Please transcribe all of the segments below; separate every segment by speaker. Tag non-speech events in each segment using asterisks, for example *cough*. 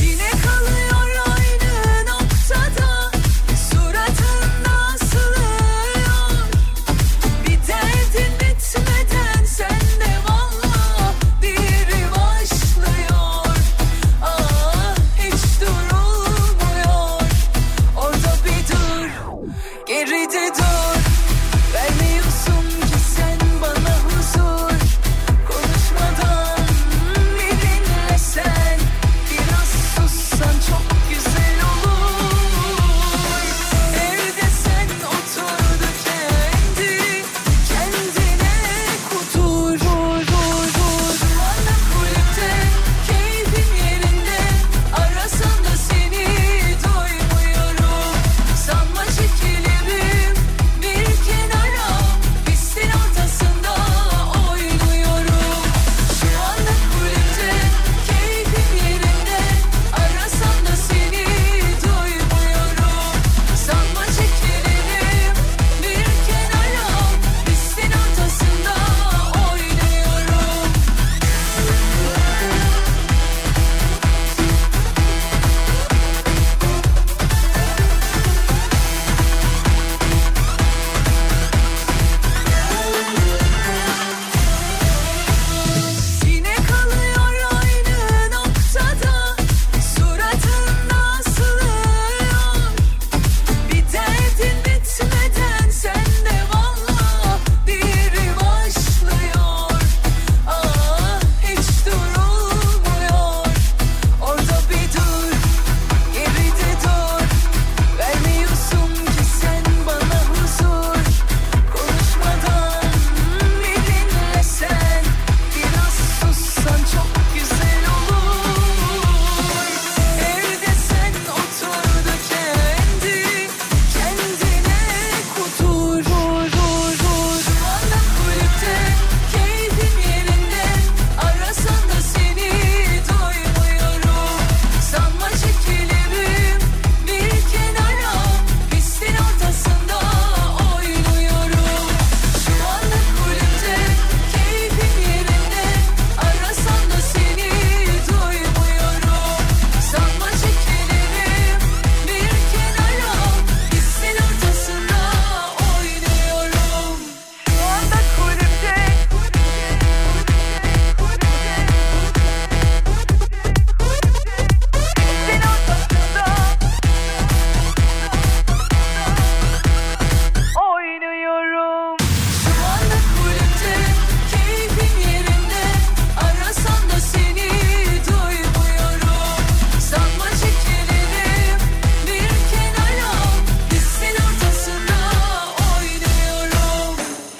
Speaker 1: Yine kalıyor aynı noktada Suratında asılıyor Bir derdin bitmeden sen de valla Biri başlıyor Ah hiç durulmuyor Orada bir dur geride dur Vermiyorsun ki sen bana huzur Konuşmadan bilinle sen Biraz sussan çok güzel olur Evde sen otur da kendi Kendine kutur Ana kulüpte keyfim yerinde Arasam da seni duymuyorum Sanma çekilirim bir kenara Pistin ortasında oynuyorum Şu anda kulüpte keyfim yerinde Arasam da seni duymuyorum Sanma çekilirim bir kenara Pistin ortasında oynuyorum Yine kalıyor aynı noktada Suratında asılıyor Bir derdin bitmeden sen de valla Biri başlıyor Ah hiç durulmuyor Orada bir dur geride dur Vermiyorsun ki sen bana huzur Konuşmadan bilinle sen Biraz sussan çok güzel olur Evde sen otur da kendi Kendine kutur Şu anda kulüpte keyfim yerinde Arasan da seni duymuyorum Sanma çekilirim bir kenara Pistin ortasında oynuyorum Şu anda kulüpte keyfim yerinde Arasan da seni duymuyorum Sanma çekilirim bir kenara Pistin ortasında oynuyorum Şu anda kulüpte Pistin ortasında oynuyorum. Şu anda kulüpte keyfim yerinde. Arasan da seni duymuyorum. Sanma çekilirim bir kenara. Hissin ortasında oynuyorum.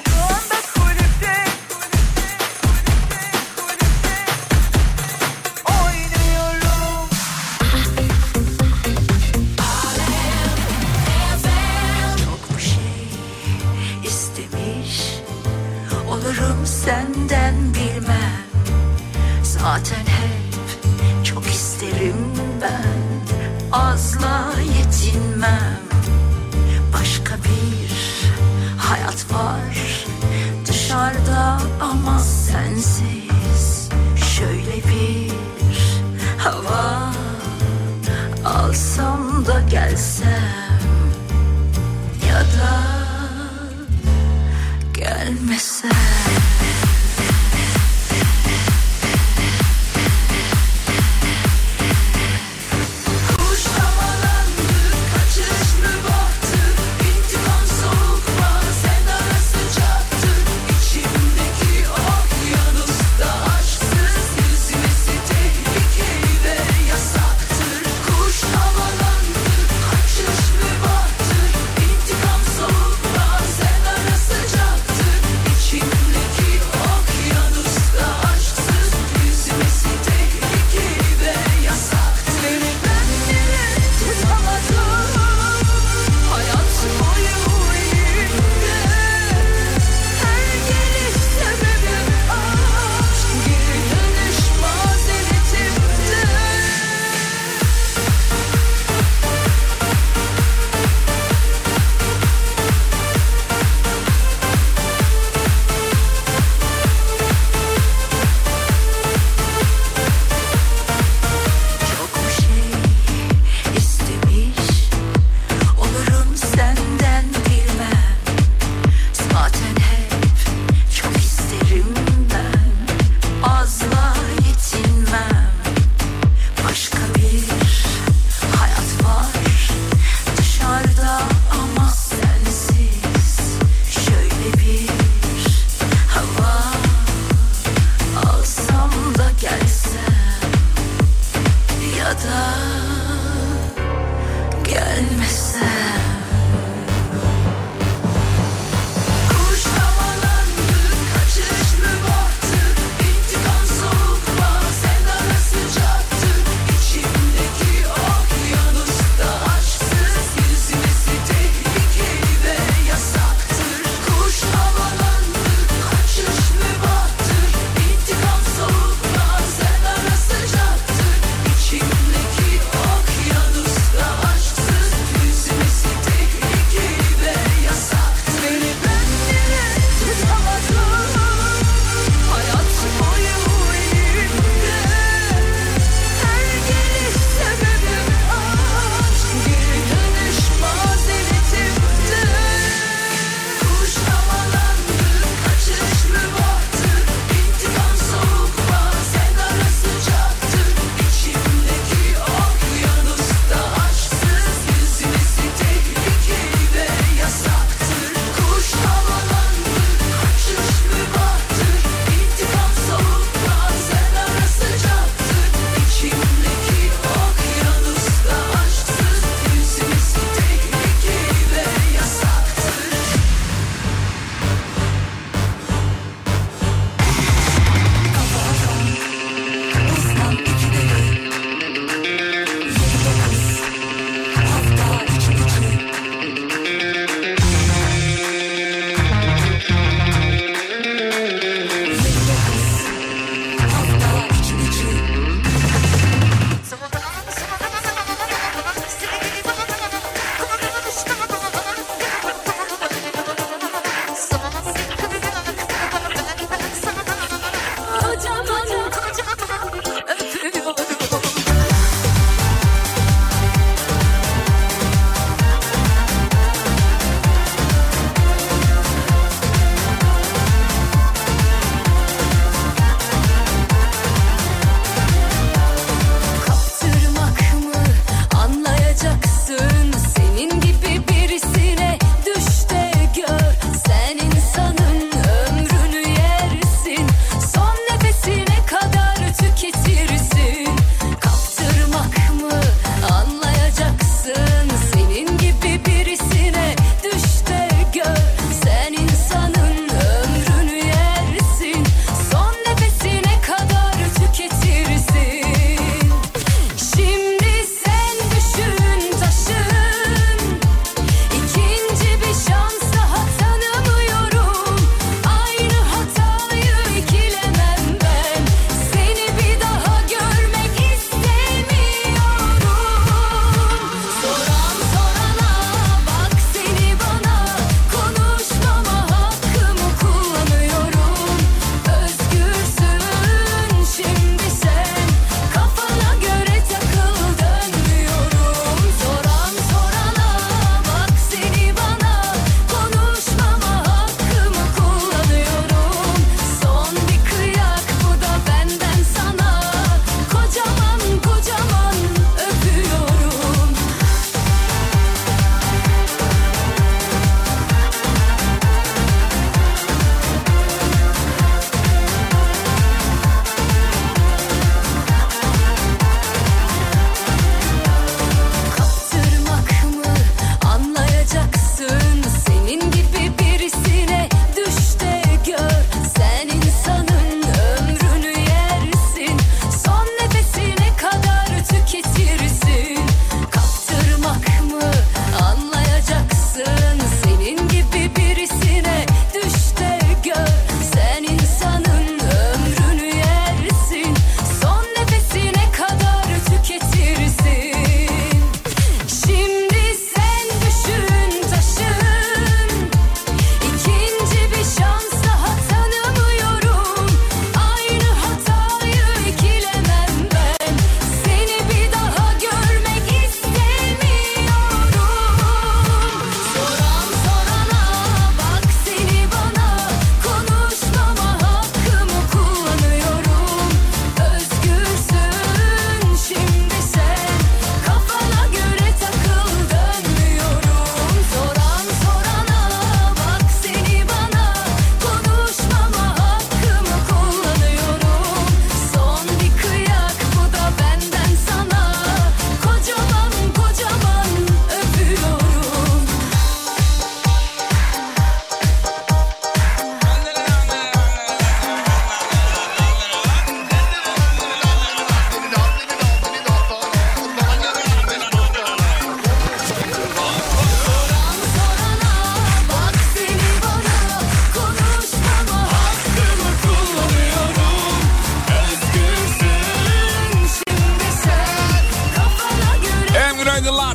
Speaker 1: Şu anda kulüpte kulüpte kulüpte kulüpte oynuyorum. Çok bir şey istemiş Olurum senden bilmem Zaten hep çok isterim ben Azla yetinmem Başka bir hayat var Dışarıda ama sensiz Şöyle bir hava Alsam da gelsem ya da gelmesen. Kuş havalandı, kaçış mı baktı? İntikam soğuk var, sen ara sıcaktı. İçimdeki okyanusta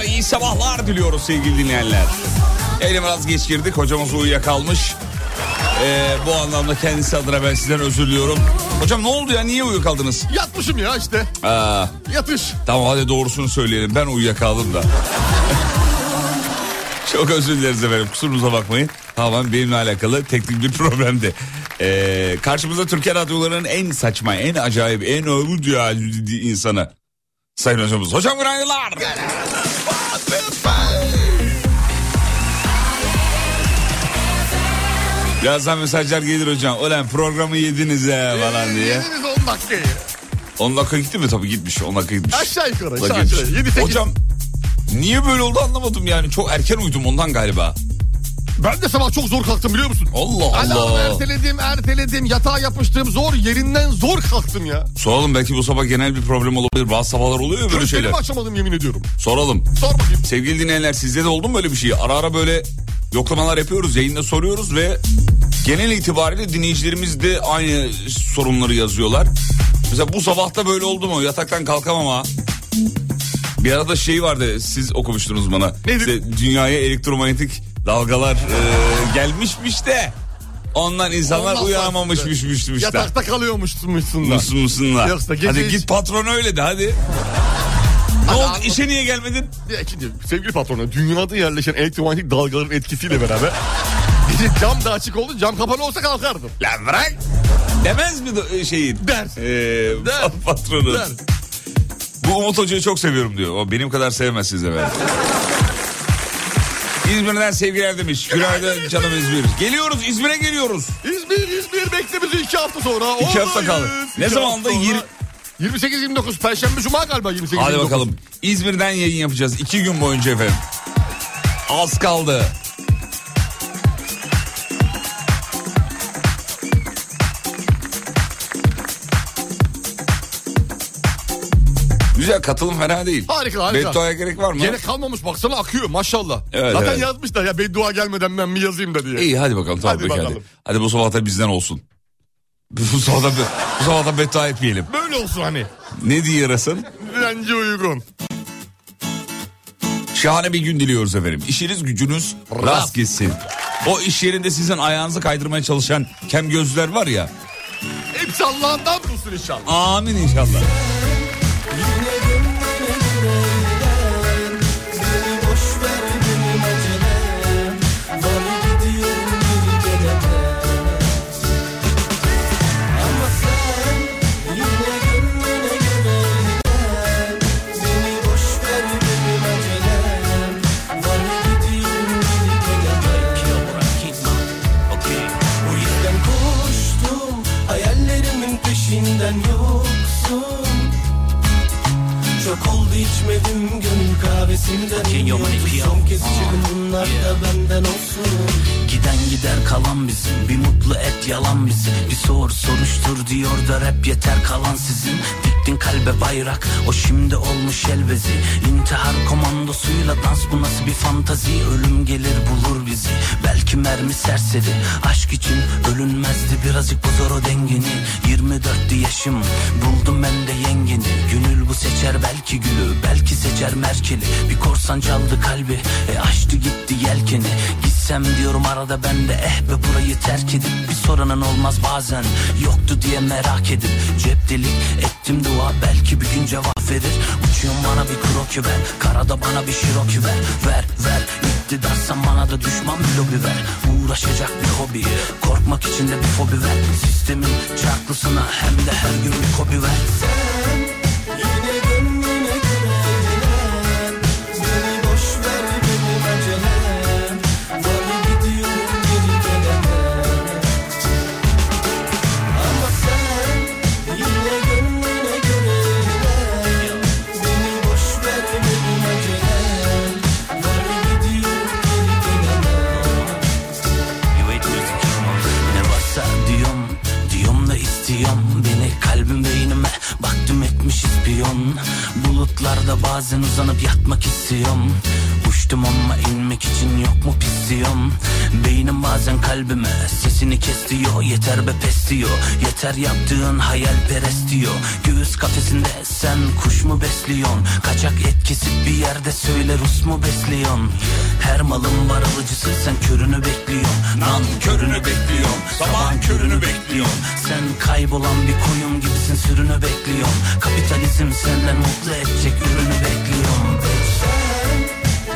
Speaker 2: iyi sabahlar diliyoruz sevgili dinleyenler. Eyle biraz geç girdik. Hocamız uyuyakalmış. Ee, bu anlamda kendisi adına ben sizden özür diliyorum. Hocam ne oldu ya? Niye uyuyakaldınız?
Speaker 3: Yatmışım ya işte.
Speaker 2: Aa,
Speaker 3: Yatış.
Speaker 2: tamam hadi doğrusunu söyleyelim. Ben uyuyakaldım da. *laughs* Çok özür dileriz efendim. Kusurumuza bakmayın. Tamam benimle alakalı teknik bir problemdi. Ee, karşımızda Türkiye radyolarının en saçma, en acayip, en öbür dünya insanı. Sayın hocamız. Hocam günaydınlar. Birazdan mesajlar gelir hocam. Ulan programı yediniz he falan diye.
Speaker 3: Yediniz 10 dakikayı.
Speaker 2: 10 dakika gitti mi? Tabii gitmiş. 10 dakika gitmiş.
Speaker 3: Aşağı yukarı,
Speaker 2: 10
Speaker 3: aşağı
Speaker 2: gitmiş.
Speaker 3: yukarı. Yedi, sekiz.
Speaker 2: Hocam niye böyle oldu anlamadım yani. Çok erken uyudum ondan galiba.
Speaker 3: Ben de sabah çok zor kalktım biliyor musun?
Speaker 2: Allah
Speaker 3: Alarmı
Speaker 2: Allah.
Speaker 3: erteledim, erteledim. Yatağa yapıştım. Zor yerinden zor kalktım ya.
Speaker 2: Soralım belki bu sabah genel bir problem olabilir. Bazı sabahlar oluyor ya böyle şeyler.
Speaker 3: Gözlerimi açamadım yemin ediyorum.
Speaker 2: Soralım.
Speaker 3: Sor bakayım.
Speaker 2: Sevgili dinleyenler sizde de oldu mu böyle bir şey? Ara ara böyle yoklamalar yapıyoruz, yayında soruyoruz ve genel itibariyle dinleyicilerimiz de aynı sorunları yazıyorlar. Mesela bu sabah da böyle oldu mu? Yataktan kalkamam ha. Bir arada şey vardı siz okumuştunuz bana.
Speaker 3: Nedir?
Speaker 2: İşte dünyaya elektromanyetik dalgalar e, gelmişmiş de ondan insanlar
Speaker 3: Ondan
Speaker 2: uyanamamışmışmış da.
Speaker 3: Yatakta kalıyormuşsun da.
Speaker 2: Mısın mısın da.
Speaker 3: Yoksa gece
Speaker 2: Hadi
Speaker 3: hiç-
Speaker 2: git patrona öyle de hadi. ne
Speaker 3: Hadi
Speaker 2: oldu
Speaker 3: anladım.
Speaker 2: işe niye gelmedin?
Speaker 3: Ya ikinci, sevgili patronu dünyada yerleşen elektromanyetik dalgaların etkisiyle beraber *laughs* gece cam da açık oldu. Cam kapalı olsa kalkardım.
Speaker 2: Lan bırak. Demez mi do- şeyi?
Speaker 3: Der.
Speaker 2: Ee,
Speaker 3: Der.
Speaker 2: Patronu.
Speaker 3: Der.
Speaker 2: Bu Umut Hoca'yı çok seviyorum diyor. O benim kadar sevmezsiniz efendim. İzmir'den sevgiler demiş. Günaydın canım İzmir. Geliyoruz İzmir'e geliyoruz.
Speaker 3: İzmir İzmir bekle bizi iki hafta sonra.
Speaker 2: İki hafta
Speaker 3: Oradayız.
Speaker 2: kaldı. Ne
Speaker 3: İki
Speaker 2: zaman da
Speaker 3: hafta
Speaker 2: yir-
Speaker 3: sonra. 28-29 Perşembe Cuma galiba 28-29.
Speaker 2: Hadi bakalım. İzmir'den yayın yapacağız. iki gün boyunca efendim. Az kaldı. Güzel katılım fena değil.
Speaker 3: Harika, harika.
Speaker 2: Beddua'ya gerek var mı?
Speaker 3: Gerek kalmamış baksana akıyor maşallah.
Speaker 2: Evet,
Speaker 3: Zaten
Speaker 2: evet.
Speaker 3: yazmışlar ya beddua gelmeden ben mi yazayım da diye.
Speaker 2: İyi hadi bakalım. Tamam,
Speaker 3: Hadi
Speaker 2: peki, hadi,
Speaker 3: bakalım.
Speaker 2: Hadi bu sabah da bizden olsun. *laughs* Bu sabah da, bu sabah da beddua etmeyelim.
Speaker 3: Böyle olsun hani.
Speaker 2: Ne diye yarasın?
Speaker 3: Bence uygun.
Speaker 2: Şahane bir gün diliyoruz efendim. İşiniz gücünüz rast gitsin. O iş yerinde sizin ayağınızı kaydırmaya çalışan kem gözler var ya.
Speaker 3: Hepsi Allah'ından bulsun inşallah.
Speaker 2: Amin inşallah.
Speaker 1: O yüzden koştum Hayallerimin peşinden yoksun Çok oldu içmedim gönül kahvesinden yoksun Son kez çıkın bunlar da benden olsun
Speaker 4: Giden gider kalan bizim Bir mutlu et yalan bizim Bir sor soruştur diyor da rap yeter kalan sizin Diktin kalbe bayrak o şimdi olmuş elbezi İntihar komandosuyla dans bu nasıl bir fantazi Ölüm gelir bulur bizi belki mermi serseri Aşk için ölünmezdi birazcık bu zor o dengeni 24'tü yaşım buldum ben de yengeni Gönül bu seçer belki gülü belki seçer merkeli Bir korsan çaldı kalbi e açtı gitti yelkeni Gitsem diyorum arada ben de eh be burayı terk edip Bir soranın olmaz bazen yoktu diye merak edip Cep delik ettim dua belki bir gün cevap verir Uçuyorum bana bir kroki ver karada bana bir şiroki ver Ver ver iktidarsan bana da düşman bir lobi ver Uğraşacak bir hobi korkmak için de bir fobi ver Sistemin çarklısına hem de her gün bir kobi ver
Speaker 1: Yine gönlüne güvenilen Beni boş ver benim acelem Var gidiyorum geri gelemem Ama sen yine gönlüne güvenilen Beni boş ver benim acelem Var gidiyorum geri gelemem
Speaker 4: Ne varsa diyorum Diyorum da istiyorum Beni kalbim beynime baktım etmiş ispiyon Bulutlarda bazen uzanıp yatmak istiyorum Bu Düştüm ama inmek için yok mu pisliyorum Beynim bazen kalbime sesini kes diyor Yeter be pes diyor Yeter yaptığın hayalperest diyor Göğüs kafesinde sen kuş mu besliyorsun Kaçak etkisi bir yerde söyle Rus mu besliyorsun Her malın var alıcısı sen körünü bekliyorsun Nan körünü bekliyorsun Sabahın körünü bekliyorsun Sen kaybolan bir koyun gibisin sürünü bekliyorsun Kapitalizm senden mutlu edecek ürünü bekliyorsun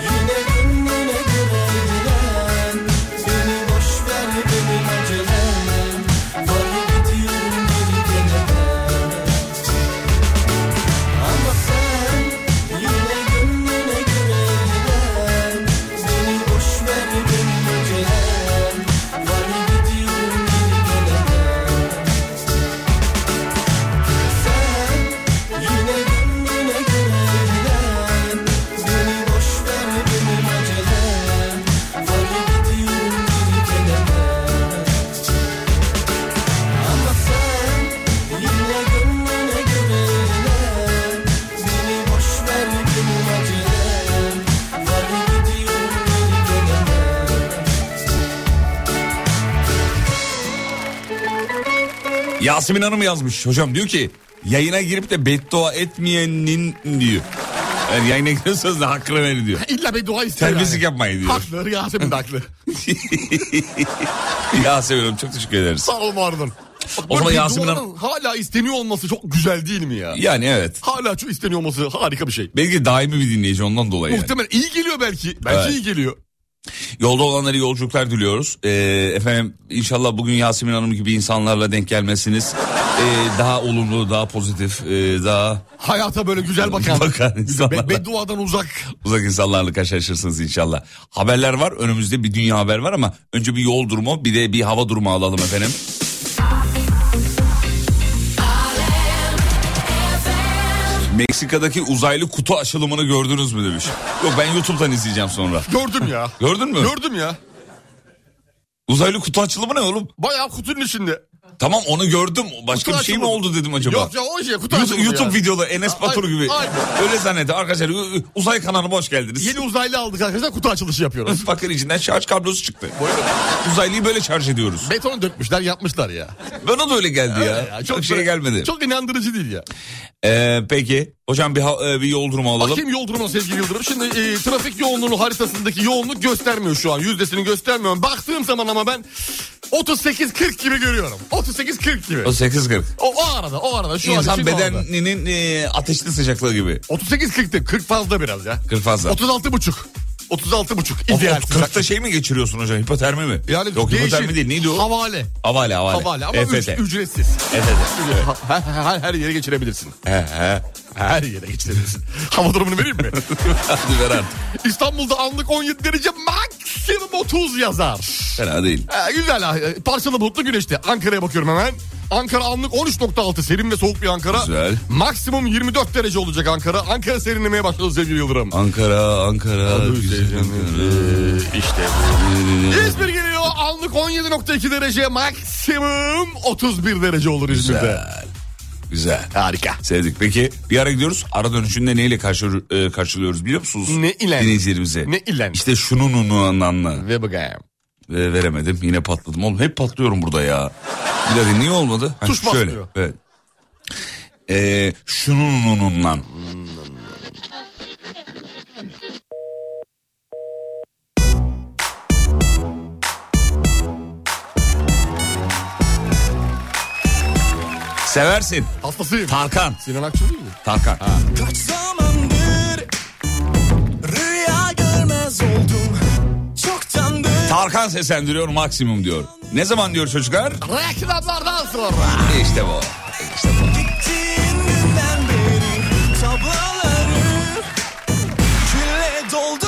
Speaker 1: Yine gönlüne göre eğlen Beni boş ver benim acelem Varı gidiyorum geri gelemem Ama sen yine gönlüne göre eğlen Beni boş ver benim acelem Varı gidiyorum geri gelemem Sen yine gönlüne göre eğlen Beni boş ver benim acelem Varı gidiyorum geri gelemem Ama sen yine gönlüne göre eğlen Beni boş ver benim acelem Varı gidiyorum geri gelemem
Speaker 2: Yasemin Hanım yazmış hocam diyor ki yayına girip de beddua etmeyenin diyor. Yani yayına giriyorsanız da hakkını verin diyor.
Speaker 3: İlla bir dua ister.
Speaker 2: Terbiyesizlik
Speaker 3: yani.
Speaker 2: yapmayın diyor.
Speaker 3: Haklı Yasemin de haklı.
Speaker 2: *laughs* Yasemin Hanım çok teşekkür ederiz.
Speaker 3: Sağ ol Mardin.
Speaker 2: O zaman Yasemin Hanım-
Speaker 3: Hala isteniyor olması çok güzel değil mi ya?
Speaker 2: Yani evet.
Speaker 3: Hala çok isteniyor olması harika bir şey.
Speaker 2: Belki daimi bir dinleyici ondan dolayı. yani.
Speaker 3: Muhtemelen iyi geliyor belki. Bence
Speaker 2: Evet.
Speaker 3: iyi geliyor.
Speaker 2: Yolda olanlara iyi yolculuklar diliyoruz. Ee, efendim inşallah bugün Yasemin Hanım gibi insanlarla denk gelmesiniz. Ee, daha olumlu, daha pozitif, e, daha
Speaker 3: Hayata böyle güzel bakan.
Speaker 2: bakan
Speaker 3: Be-
Speaker 2: insanlarla,
Speaker 3: bedduadan uzak.
Speaker 2: uzak insanlarla karşılaşırsınız inşallah. Haberler var, önümüzde bir dünya haber var ama önce bir yol durumu, bir de bir hava durumu alalım efendim. Meksika'daki uzaylı kutu açılımını gördünüz mü demiş. Yok ben YouTube'dan izleyeceğim sonra.
Speaker 3: Gördüm ya.
Speaker 2: Gördün mü?
Speaker 3: Gördüm ya.
Speaker 2: Uzaylı kutu açılımı ne oğlum?
Speaker 3: Bayağı kutunun içinde.
Speaker 2: Tamam onu gördüm. Başka
Speaker 3: Kutu
Speaker 2: bir şey mi
Speaker 3: açılımı.
Speaker 2: oldu dedim acaba?
Speaker 3: Yok ya o şey kutu
Speaker 2: YouTube,
Speaker 3: açılımı
Speaker 2: YouTube
Speaker 3: ya.
Speaker 2: videoları Enes
Speaker 3: A-
Speaker 2: Batur
Speaker 3: aynen,
Speaker 2: gibi.
Speaker 3: aynen.
Speaker 2: Öyle zannetti arkadaşlar. ü- ü- Uzay kanalına hoş geldiniz.
Speaker 3: Yeni uzaylı aldık arkadaşlar kutu açılışı yapıyoruz.
Speaker 2: Bakın içinden şarj kablosu çıktı. Uzaylıyı böyle şarj ediyoruz.
Speaker 3: Beton dökmüşler yapmışlar ya.
Speaker 2: Bana da öyle geldi ya.
Speaker 3: Ya,
Speaker 2: Çok, şey
Speaker 3: böyle-
Speaker 2: gelmedi.
Speaker 3: Çok inandırıcı değil ya.
Speaker 2: Ee, peki. Hocam bir, ha- e, bir yol durumu alalım.
Speaker 3: Bakayım yol durumuna sevgili Yıldırım. Şimdi e, trafik yoğunluğunun haritasındaki yoğunluk göstermiyor şu an. Yüzdesini göstermiyor. Baktığım zaman ama ben 38-40 gibi görüyorum. 38-40 gibi.
Speaker 2: O 8.40.
Speaker 3: O, o arada o arada şu an
Speaker 2: İnsan
Speaker 3: için o arada.
Speaker 2: bedeninin e, ateşli sıcaklığı gibi.
Speaker 3: 38-40'te 40 fazla biraz ya.
Speaker 2: 40 fazla.
Speaker 3: 36 buçuk. 36 buçuk
Speaker 2: O- o
Speaker 3: ideal
Speaker 2: 40'ta
Speaker 3: sıcaklık.
Speaker 2: şey mi geçiriyorsun hocam? Hipotermi mi?
Speaker 3: Yani
Speaker 2: Yok
Speaker 3: değişir.
Speaker 2: hipotermi değil. Neydi o?
Speaker 3: Havale.
Speaker 2: Havale havale. E
Speaker 3: Havale ama
Speaker 2: EFT.
Speaker 3: üc- ücretsiz.
Speaker 2: EFT.
Speaker 3: Ha- Her, her, her yere geçirebilirsin.
Speaker 2: He, he.
Speaker 3: Her yere geçirebilirsin. Hava durumunu vereyim mi?
Speaker 2: *laughs* Hadi ver artık.
Speaker 3: İstanbul'da anlık 17 derece maksimum 30 yazar.
Speaker 2: Fena değil.
Speaker 3: Ee, güzel ha. Ee, Parçalı bulutlu güneşli. Ankara'ya bakıyorum hemen. Ankara anlık 13.6 serin ve soğuk bir Ankara.
Speaker 2: Güzel.
Speaker 3: Maksimum 24 derece olacak Ankara. Ankara serinlemeye başladı sevgili Yıldırım.
Speaker 2: Ankara, Ankara, güzel Ankara.
Speaker 3: İşte İzmir geliyor anlık 17.2 derece maksimum 31 derece olur İzmir'de.
Speaker 2: Güzel. Güzel.
Speaker 3: Harika.
Speaker 2: Sevdik. Peki bir ara gidiyoruz. Ara dönüşünde neyle karşı, e, karşılıyoruz biliyor musunuz?
Speaker 3: Ne ile?
Speaker 2: Dinleyicilerimize.
Speaker 3: Ne ile?
Speaker 2: İşte şunun ununanla.
Speaker 3: Ve bakayım.
Speaker 2: Ve veremedim. Yine patladım. Oğlum hep patlıyorum burada ya. Bir dakika niye olmadı? Ha,
Speaker 3: Tuş
Speaker 2: şöyle.
Speaker 3: basmıyor.
Speaker 2: Evet. Ee, şunun ununla. Seversin.
Speaker 3: Hastasıyım.
Speaker 2: Tarkan.
Speaker 3: Sinan Akçıl değil mi?
Speaker 2: Tarkan.
Speaker 1: Kaç zamandır rüya görmez oldum Çoktandır
Speaker 2: Tarkan seslendiriyor maksimum diyor. Ne zaman diyor çocuklar?
Speaker 3: Reklamlardan sonra.
Speaker 2: İşte bu. İşte bu.
Speaker 1: Gittiğin günden beri tabloları külle doldu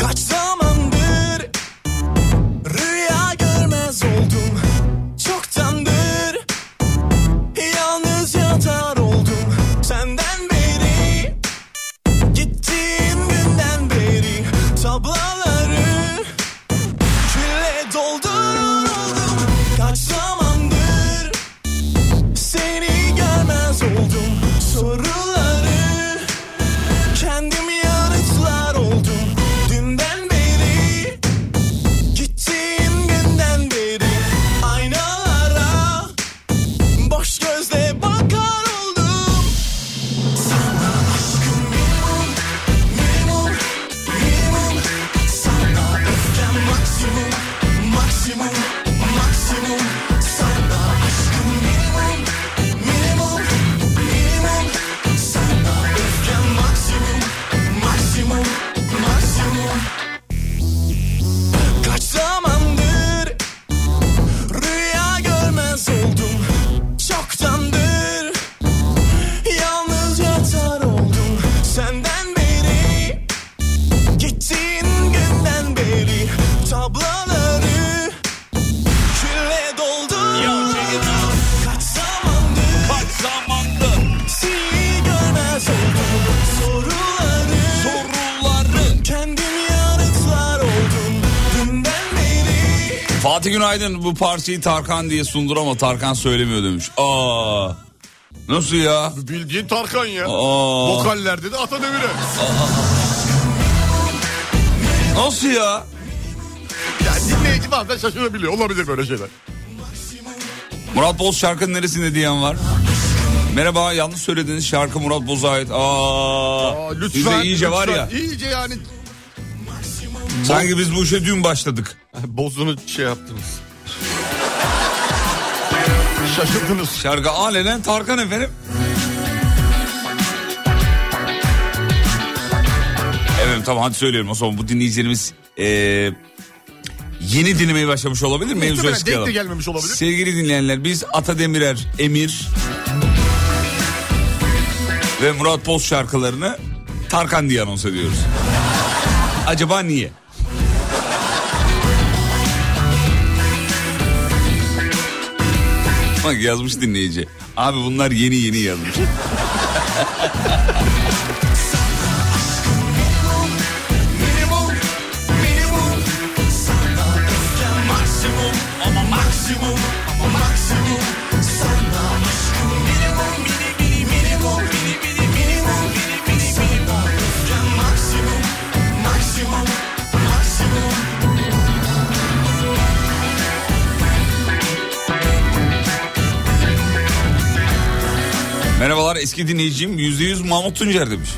Speaker 1: Kaç zamandır rüya görmez oldum Çoktandır yalnız yatar oldum
Speaker 2: Fatih Günaydın bu parçayı Tarkan diye sundur ama Tarkan söylemiyor demiş. Aa. Nasıl ya?
Speaker 3: Bildiğin Tarkan ya.
Speaker 2: Aa.
Speaker 3: Vokallerde de ata devire.
Speaker 2: Nasıl ya?
Speaker 3: Ya dinleyici bazen şaşırabiliyor. Olabilir böyle şeyler.
Speaker 2: Murat Boz şarkının neresinde diyen var? Merhaba yanlış söylediniz şarkı Murat Boz'a ait. Aa,
Speaker 3: Aa, lütfen.
Speaker 2: Siz de iyice
Speaker 3: lütfen.
Speaker 2: var ya.
Speaker 3: İyice yani.
Speaker 2: Sanki biz bu işe dün başladık.
Speaker 3: *laughs* Bozunu şey yaptınız. Şaşırdınız.
Speaker 2: Şarkı alenen Tarkan efendim. Evet tamam hadi söylüyorum o zaman bu dinleyicilerimiz eee, yeni dinlemeye başlamış olabilir. Mevzuya
Speaker 3: Muhtemelen
Speaker 2: çıkalım.
Speaker 3: denk de gelmemiş olabilir.
Speaker 2: Sevgili dinleyenler biz Ata Demirer, Emir ve Murat Boz şarkılarını Tarkan diye anons ediyoruz. Acaba niye? Bak yazmış dinleyici. Abi bunlar yeni yeni yazmış. *laughs* Merhabalar eski dinleyicim %100 Mahmut Tuncer demiş.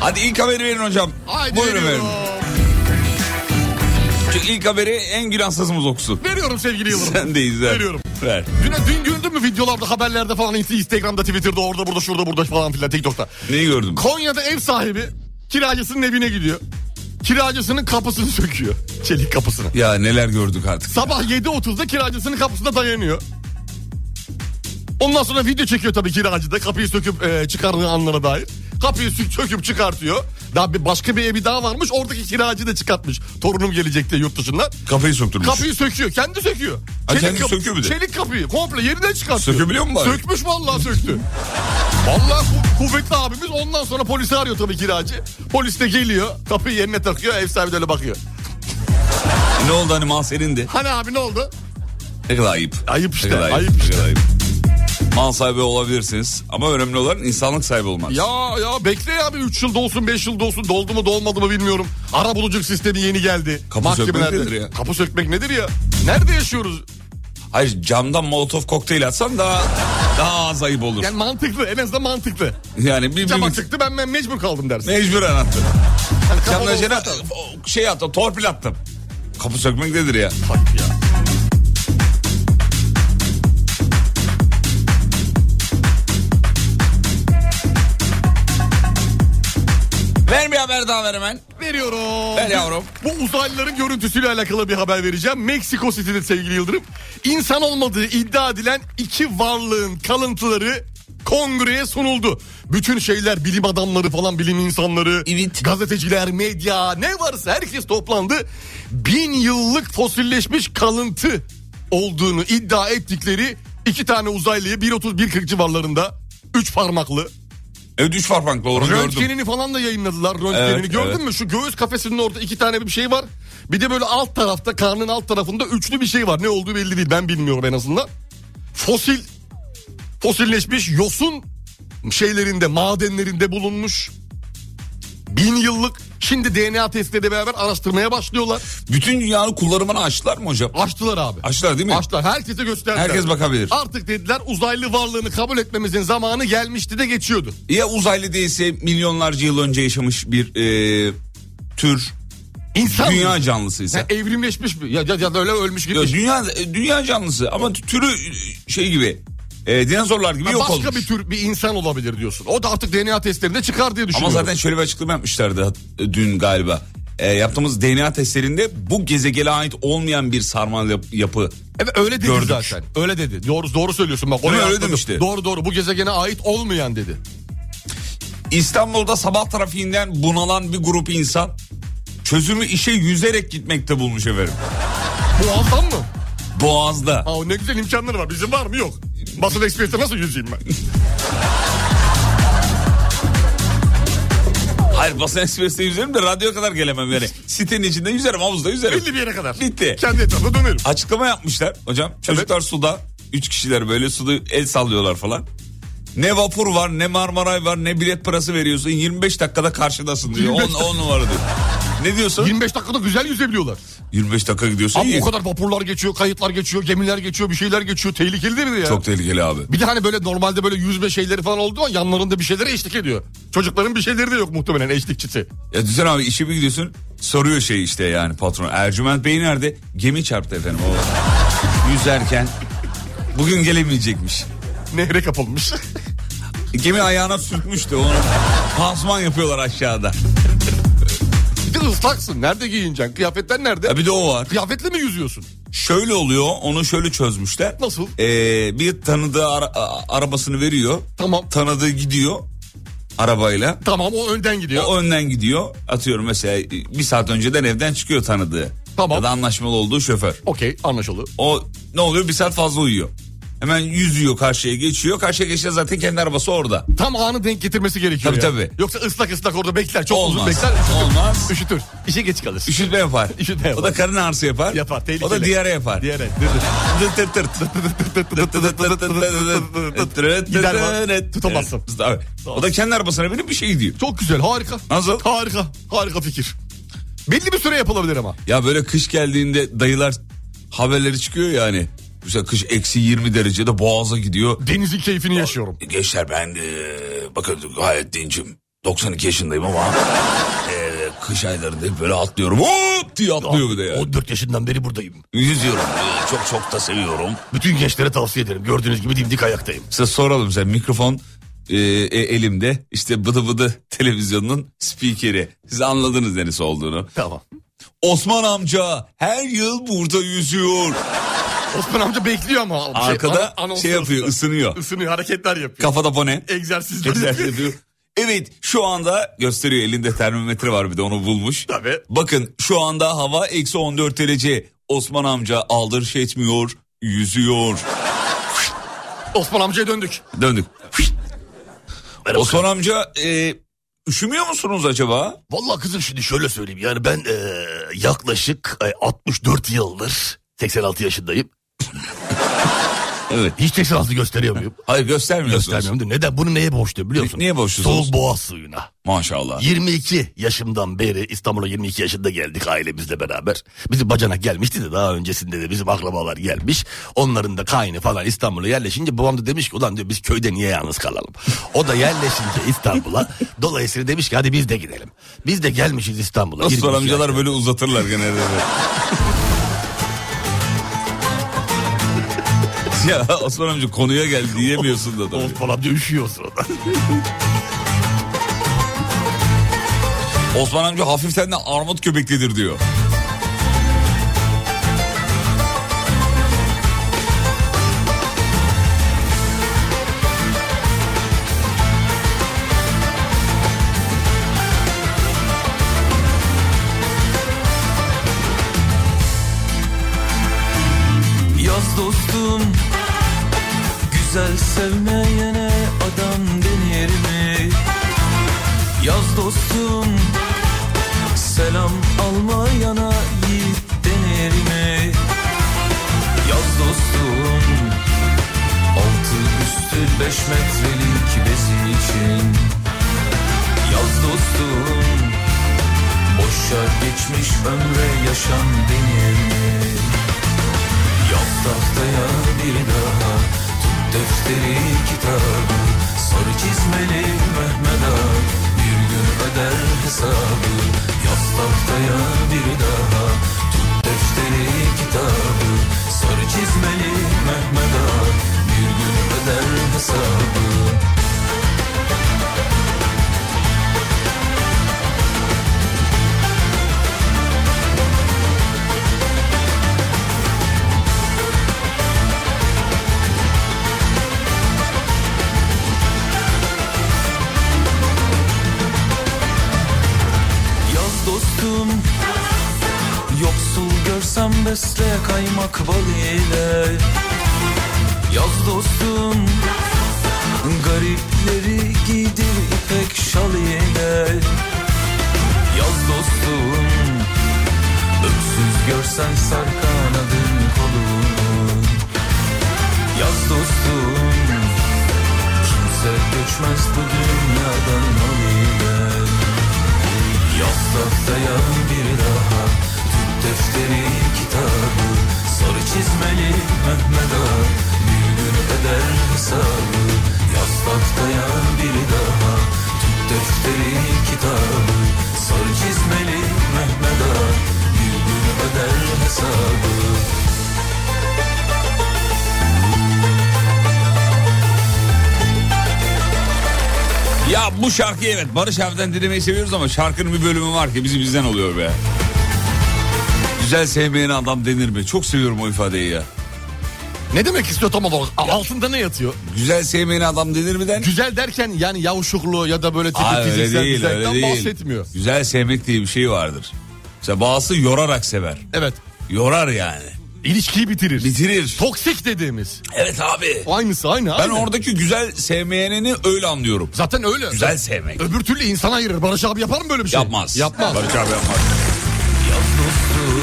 Speaker 2: Hadi ilk haberi verin hocam.
Speaker 3: Haydi
Speaker 2: Buyurun
Speaker 3: veriyorum.
Speaker 2: efendim. Çünkü ilk haberi en günahsızımız okusun.
Speaker 3: Veriyorum sevgili Yıldırım.
Speaker 2: Sen de izle.
Speaker 3: Veriyorum.
Speaker 2: Ver.
Speaker 3: Dün, dün gördün mü videolarda, haberlerde falan, Instagram'da, Twitter'da, orada, burada, şurada, burada falan filan, TikTok'ta.
Speaker 2: Neyi gördüm?
Speaker 3: Konya'da ev sahibi kiracısının evine gidiyor. Kiracısının kapısını söküyor. Çelik kapısını.
Speaker 2: Ya neler gördük artık.
Speaker 3: Sabah 7.30'da kiracısının kapısına dayanıyor. Ondan sonra video çekiyor tabii kiracı da kapıyı söküp e, çıkardığı anlara dair. Kapıyı sök, söküp çıkartıyor. Daha bir başka bir evi daha varmış. Oradaki kiracı da çıkartmış. Torunum gelecek diye yurt dışından.
Speaker 2: Kafayı sokturmuş.
Speaker 3: Kapıyı söküyor. Kendi söküyor.
Speaker 2: Ha, kendi söküyor bir de.
Speaker 3: Çelik kapıyı komple yerinden çıkartıyor.
Speaker 2: Sökebiliyor mu bari?
Speaker 3: Sökmüş vallahi söktü. vallahi ku- kuvvetli abimiz ondan sonra polisi arıyor tabii kiracı. Polis de geliyor. Kapıyı yerine takıyor. Ev sahibi de öyle bakıyor.
Speaker 2: Ne oldu hani mal senindi?
Speaker 3: Hani abi ne oldu?
Speaker 2: Ne kadar ayıp.
Speaker 3: Ayıp
Speaker 2: Ne
Speaker 3: işte.
Speaker 2: kadar
Speaker 3: ayıp
Speaker 2: ne
Speaker 3: işte.
Speaker 2: kadar ayıp. Mal sahibi olabilirsiniz ama önemli olan insanlık sahibi olmak.
Speaker 3: Ya ya bekle ya bir 3 yılda olsun 5 yılda olsun doldu mu dolmadı mı bilmiyorum. Ara buluculuk sistemi yeni geldi.
Speaker 2: Kapı
Speaker 3: Mahkemelerde-
Speaker 2: sökmek nedir ya?
Speaker 3: Kapı sökmek nedir ya? Nerede yaşıyoruz?
Speaker 2: Hayır camdan molotof kokteyl atsan daha daha az ayıp olur.
Speaker 3: Yani mantıklı en azından mantıklı.
Speaker 2: Yani bir, bir,
Speaker 3: Cama
Speaker 2: bir
Speaker 3: çıktı ben, ben mecbur kaldım dersin.
Speaker 2: mecburen attın.
Speaker 3: Yani kapalı
Speaker 2: Camdan
Speaker 3: olsa-
Speaker 2: jene şey attım torpil attım. Kapı sökmek nedir ya?
Speaker 3: Bak ya.
Speaker 2: Ver bir haber daha ver hemen.
Speaker 3: Veriyorum.
Speaker 2: Ver yavrum.
Speaker 3: Bu uzaylıların görüntüsüyle alakalı bir haber vereceğim. Meksiko City'de sevgili Yıldırım. İnsan olmadığı iddia edilen iki varlığın kalıntıları kongreye sunuldu. Bütün şeyler bilim adamları falan bilim insanları,
Speaker 2: Evet.
Speaker 3: gazeteciler, medya ne varsa herkes toplandı. Bin yıllık fosilleşmiş kalıntı olduğunu iddia ettikleri iki tane uzaylıyı 1.30-1.40 civarlarında üç parmaklı
Speaker 2: Evet üç farfankla onu gördüm.
Speaker 3: Röntgenini falan da yayınladılar röntgenini.
Speaker 2: Evet,
Speaker 3: Gördün
Speaker 2: evet.
Speaker 3: mü şu göğüs kafesinin orada iki tane bir şey var. Bir de böyle alt tarafta karnın alt tarafında üçlü bir şey var. Ne olduğu belli değil ben bilmiyorum en azından. Fosil, fosilleşmiş yosun şeylerinde madenlerinde bulunmuş. Bin yıllık şimdi DNA testleriyle beraber araştırmaya başlıyorlar.
Speaker 2: Bütün dünyanın kullanımını açtılar mı hocam?
Speaker 3: Açtılar abi.
Speaker 2: Açtılar değil mi?
Speaker 3: Açtılar. Herkese gösterdiler.
Speaker 2: Herkes bakabilir.
Speaker 3: Artık dediler uzaylı varlığını kabul etmemizin zamanı gelmişti de geçiyordu.
Speaker 2: Ya uzaylı değilse milyonlarca yıl önce yaşamış bir e, tür
Speaker 3: İnsan
Speaker 2: dünya canlısıysa.
Speaker 3: Ya evrimleşmiş mi? Ya, ya, ya da öyle ölmüş
Speaker 2: Ya
Speaker 3: gitmiş.
Speaker 2: dünya e, dünya canlısı ama t- türü e, şey gibi e, dinozorlar gibi
Speaker 3: Ha,
Speaker 2: yok
Speaker 3: başka
Speaker 2: olmuş.
Speaker 3: bir tür bir insan olabilir diyorsun. O da artık DNA testlerinde çıkar diye
Speaker 2: Ama
Speaker 3: düşünüyorum.
Speaker 2: zaten şöyle bir açıklama yapmışlardı e, dün galiba. E, yaptığımız DNA testlerinde bu gezegene ait olmayan bir sarmal yap- yapı.
Speaker 3: evet, öyle dedi
Speaker 2: Gördük.
Speaker 3: zaten. Öyle dedi. Doğru doğru söylüyorsun bak.
Speaker 2: Değil mi?
Speaker 3: oraya
Speaker 2: Öyle
Speaker 3: atladım.
Speaker 2: demişti.
Speaker 3: Doğru doğru bu gezegene ait olmayan dedi.
Speaker 2: İstanbul'da sabah trafiğinden bunalan bir grup insan çözümü işe yüzerek gitmekte bulmuş efendim.
Speaker 3: Muazzam mı?
Speaker 2: Boğaz'da.
Speaker 3: Aa, ne güzel imkanları var. Bizim var mı? Yok. Basın *laughs* Ekspres'te nasıl yüzeyim ben?
Speaker 2: Hayır basın ekspresinde yüzerim de radyoya kadar gelemem yani. Sitenin içinde yüzerim havuzda yüzerim.
Speaker 3: Belli bir yere kadar.
Speaker 2: Bitti.
Speaker 3: Kendi etrafına dönerim.
Speaker 2: Açıklama yapmışlar hocam. Çocuklar suda. Üç kişiler böyle suda el sallıyorlar falan. Ne vapur var ne Marmaray var ne bilet parası veriyorsun 25 dakikada karşıdasın diyor. 10,
Speaker 3: 25
Speaker 2: on
Speaker 3: *laughs*
Speaker 2: numara diyor. Ne diyorsun?
Speaker 3: 25 dakikada güzel yüzebiliyorlar.
Speaker 2: 25 dakika gidiyorsun
Speaker 3: Abi
Speaker 2: iyi.
Speaker 3: o kadar vapurlar geçiyor, kayıtlar geçiyor, gemiler geçiyor, bir şeyler geçiyor. Tehlikeli değil mi ya?
Speaker 2: Çok tehlikeli abi.
Speaker 3: Bir de hani böyle normalde böyle yüzme şeyleri falan oldu ama yanlarında bir şeylere eşlik ediyor. Çocukların bir şeyleri de yok muhtemelen eşlikçisi.
Speaker 2: Ya düşünsene abi işe bir gidiyorsun soruyor şey işte yani patron. Ercüment Bey nerede? Gemi çarptı efendim. O yüzerken bugün gelemeyecekmiş.
Speaker 3: Nehre kapılmış.
Speaker 2: Gemi ayağına sürtmüştü. Onu pansuman yapıyorlar aşağıda.
Speaker 3: bir de ıslaksın. Nerede giyineceksin? Kıyafetler nerede?
Speaker 2: Ya bir de o var.
Speaker 3: Kıyafetle mi yüzüyorsun?
Speaker 2: Şöyle oluyor onu şöyle çözmüşler.
Speaker 3: Nasıl?
Speaker 2: Ee, bir tanıdığı ara- a- arabasını veriyor.
Speaker 3: Tamam.
Speaker 2: Tanıdığı gidiyor arabayla.
Speaker 3: Tamam o önden gidiyor.
Speaker 2: O önden gidiyor. Atıyorum mesela e, bir saat önceden evden çıkıyor tanıdığı.
Speaker 3: Tamam.
Speaker 2: Ya da anlaşmalı olduğu şoför.
Speaker 3: Okey anlaşıldı.
Speaker 2: O ne oluyor bir saat fazla uyuyor. Hemen yüzüyor karşıya geçiyor. Karşıya geçince zaten kendi arabası orada.
Speaker 3: Tam anı denk getirmesi gerekiyor
Speaker 2: Tabii,
Speaker 3: ya.
Speaker 2: tabii.
Speaker 3: Yoksa ıslak ıslak orada bekler. Çok uzun
Speaker 2: Olmaz.
Speaker 3: bekler.
Speaker 2: Olmaz.
Speaker 3: Üşütür. İşe geç kalır.
Speaker 2: Üşütme yapar.
Speaker 3: Üşütme yapar.
Speaker 2: O da karın ağrısı yapar.
Speaker 3: Yapar, tehlikeli.
Speaker 2: O da diyare yapar.
Speaker 3: Diğer el.
Speaker 2: Dıt dıt dıt.
Speaker 3: Gider var, tutamazsın.
Speaker 2: Tabii. O da kendi arabasına binip bir şey gidiyor.
Speaker 3: Çok güzel harika.
Speaker 2: Nasıl?
Speaker 3: Harika. Harika fikir. Belli bir süre yapılabilir ama.
Speaker 2: Ya böyle kış geldiğinde dayılar haberleri çıkıyor yani. Mesela kış eksi 20 derecede boğaza gidiyor.
Speaker 3: Denizin keyfini yaşıyorum.
Speaker 2: Gençler ben e, bakın gayet dincim. 92 yaşındayım ama e, kış aylarında hep böyle atlıyorum. Hop diye atlıyor bir de yani.
Speaker 5: 14 yaşından beri buradayım.
Speaker 2: Yüzüyorum. E, Çok çok da seviyorum.
Speaker 5: Bütün gençlere tavsiye ederim. Gördüğünüz gibi dimdik ayaktayım.
Speaker 2: Size soralım sen mikrofon e, e, elimde işte bıdı bıdı televizyonun spikeri. Siz anladınız neresi olduğunu.
Speaker 3: Tamam.
Speaker 2: Osman amca her yıl burada yüzüyor.
Speaker 3: Osman amca bekliyor ama. Şey,
Speaker 2: Arkada
Speaker 3: an- anons
Speaker 2: şey yapıyor
Speaker 3: sırasında.
Speaker 2: ısınıyor.
Speaker 3: Isınıyor hareketler yapıyor.
Speaker 2: Kafada bone.
Speaker 3: Egzersizler
Speaker 2: Egzersiz
Speaker 3: yapıyor.
Speaker 2: yapıyor. Evet şu anda gösteriyor elinde termometre var bir de onu bulmuş.
Speaker 3: Tabii.
Speaker 2: Bakın şu anda hava eksi 14 derece. Osman amca aldırış etmiyor yüzüyor.
Speaker 3: Osman amcaya döndük.
Speaker 2: Döndük. Osman amca e, üşümüyor musunuz acaba?
Speaker 5: Vallahi kızım şimdi şöyle söyleyeyim. Yani ben eee, yaklaşık e, 64 yıldır 86 yaşındayım.
Speaker 2: Evet.
Speaker 5: Hiç 86 gösteriyor muyum?
Speaker 2: Hayır göstermiyorsunuz.
Speaker 5: Göstermiyorum değil mi? Neden? Bunu neye borçlu biliyor musun?
Speaker 2: Niye borçlusunuz?
Speaker 5: Soğuk boğaz suyuna.
Speaker 2: Maşallah.
Speaker 5: 22 yaşımdan beri İstanbul'a 22 yaşında geldik ailemizle beraber. Bizim bacanak gelmişti de daha öncesinde de bizim akrabalar gelmiş. Onların da kaynı falan İstanbul'a yerleşince babam da demiş ki ulan diyor biz köyde niye yalnız kalalım. O da yerleşince
Speaker 2: *laughs*
Speaker 5: İstanbul'a dolayısıyla demiş ki hadi biz de gidelim. Biz de gelmişiz İstanbul'a.
Speaker 2: Osman
Speaker 5: 22
Speaker 2: amcalar böyle uzatırlar
Speaker 5: *laughs*
Speaker 2: genelde. ya Osman amca konuya geldi diyemiyorsun da tabii.
Speaker 5: Osman amca üşüyor sırada.
Speaker 2: Osman amca hafiften de armut köpeklidir diyor.
Speaker 6: Yaz dostum Güzel sevmeyene adam denir mi? Yaz dostum Selam almayana yiğit denir mi? Yaz dostum Altı üstü beş metrelik bezi için Yaz dostum Boşa geçmiş ömre yaşam denir mi? Yap tahtaya bir daha Tut defteri kitabı Sarı çizmeli Mehmet Ağa Bir gün öder hesabı Yaz tahtaya bir daha Tut defteri kitabı Sarı çizmeli Mehmet Ağa Bir gün öder hesabı Yaz dostum Yoksul görsem besle kaymak bal ile Yaz dostum Garipleri giydir ipek şal ile düşmez bu dünyadan mal ile Yastakta yarın bir daha Tut defteri kitabı Sarı çizmeli Mehmet Ağa Bir gün eder hesabı Yastakta yarın bir daha Tut defteri kitabı Sarı çizmeli Mehmet Ağa Bir gün öder hesabı
Speaker 2: Ya bu şarkıyı evet Barış abiden dinlemeyi seviyoruz ama şarkının bir bölümü var ki bizi bizden oluyor be. Güzel sevmeyen adam denir mi? Çok seviyorum o ifadeyi ya.
Speaker 3: Ne demek istiyor tam olarak? A- Altında ne yatıyor?
Speaker 2: Güzel sevmeyen adam denir mi den?
Speaker 3: Güzel derken yani yavuşuklu ya da böyle tipi
Speaker 2: Aa, öyle
Speaker 3: fiziksel
Speaker 2: değil
Speaker 3: güzellikten
Speaker 2: öyle değil.
Speaker 3: bahsetmiyor.
Speaker 2: Güzel sevmek diye bir şey vardır. Mesela bazısı yorarak sever.
Speaker 3: Evet.
Speaker 2: Yorar yani.
Speaker 3: İlişkiyi bitirir.
Speaker 2: Bitirir.
Speaker 3: Toksik dediğimiz.
Speaker 2: Evet abi.
Speaker 3: Aynısı aynı.
Speaker 2: Ben
Speaker 3: aynı.
Speaker 2: oradaki güzel sevmeyenini öyle anlıyorum.
Speaker 3: Zaten öyle.
Speaker 2: Güzel sevmek.
Speaker 3: Öbür türlü insan ayırır. Barış abi yapar mı böyle bir şey?
Speaker 2: Yapmaz.
Speaker 3: Yapmaz.
Speaker 2: Barış abi yapmaz.
Speaker 6: Yaz dostum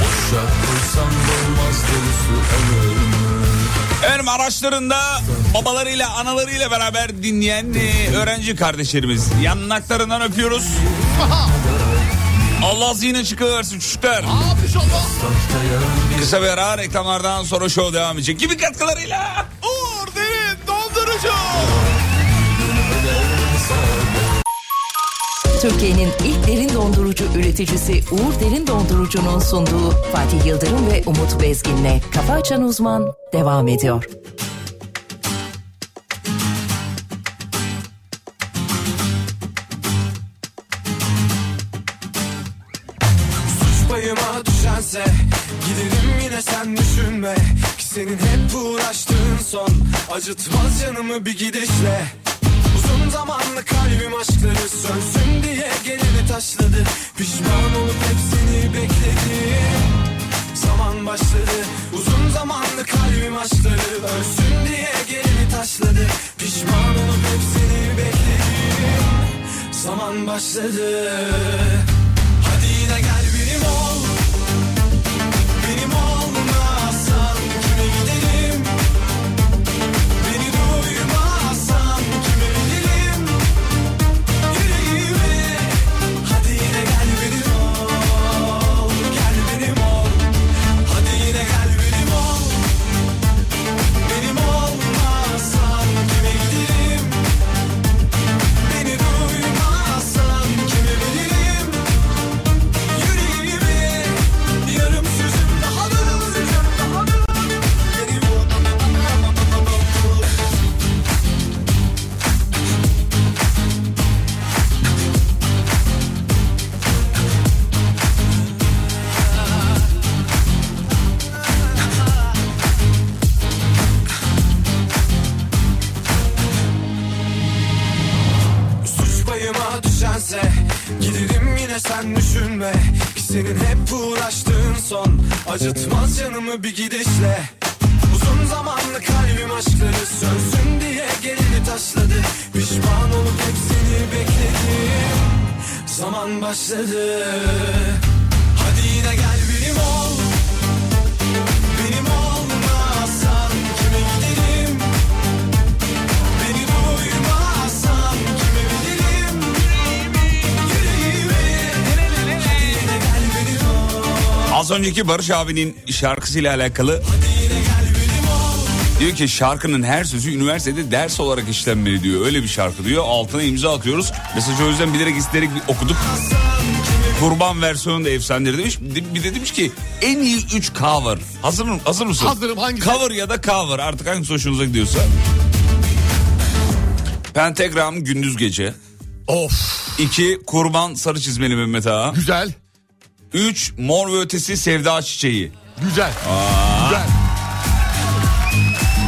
Speaker 6: Boşa kursam dolmaz dolusu ömür mü?
Speaker 2: Efendim araçlarında babalarıyla analarıyla beraber dinleyen e, öğrenci kardeşlerimiz. Yanaklarından öpüyoruz. Allah zihin açık versin çocuklar.
Speaker 3: Abi inşallah.
Speaker 2: Kısa bir ara reklamlardan sonra show devam edecek. Gibi katkılarıyla. Uğur Derin Dondurucu.
Speaker 7: Türkiye'nin ilk derin dondurucu üreticisi Uğur Derin Dondurucu'nun sunduğu Fatih Yıldırım ve Umut Bezgin'le Kafa Açan Uzman devam ediyor.
Speaker 1: Suç payıma düşense Giderim yine sen düşünme Ki senin hep uğraştığın son Acıtmaz canımı bir gidişle Uzun zamanlı kalbim aşkları Sönsün diye geleni taşladı Pişman olup hep seni bekledim Zaman başladı Uzun zamanlı kalbim aşkları Ölsün diye geleni taşladı Pişman olup hep seni bekledim Zaman başladı Hadi yine gel benim ol Benim olmazsan kime gidelim Beni duymazsan kime gidelim Yüreğime Hadi yine gel benim ol Gel benim ol Hadi yine gel benim ol Benim olmazsan kime gidelim Beni duymazsan kime gidelim Yüreğimi yarım sözüm daha da alırım daha da Beni vur Suç payıma düşense Giderim yine sen düşünme Ki senin hep uğraştığın son Acıtmaz canımı bir gidişle Uzun zamanlı kalbim aşkları Sönsün diye gelini taşladı Pişman olup hep seni bekledim Zaman başladı Hadi yine gel benim ol Benim olmazsan kime gidelim Beni duymazsan kime bilirim Yüreğime Hadi yine gel benim ol
Speaker 2: Az önceki Barış abinin şarkısıyla alakalı
Speaker 1: Hadi yine gel benim ol
Speaker 2: diyor ki şarkının her sözü üniversitede ders olarak işlenmeli diyor. Öyle bir şarkı diyor. Altına imza atıyoruz. Mesajı o yüzden bilerek isteyerek okuduk.
Speaker 1: Sen kime
Speaker 2: Kurban versiyonu da efsanedir demiş. Bir de demiş ki en iyi 3 cover. Hazır, mı, hazır mısın?
Speaker 3: Hazırım, hangisi?
Speaker 2: Cover ya da cover artık hangisi hoşunuza gidiyorsa. Pentagram gündüz gece.
Speaker 3: Of.
Speaker 2: 2. Kurban sarı çizmeli Mehmet Ağa.
Speaker 3: Güzel.
Speaker 2: 3. Mor ve ötesi sevda çiçeği.
Speaker 3: Güzel. Güzel.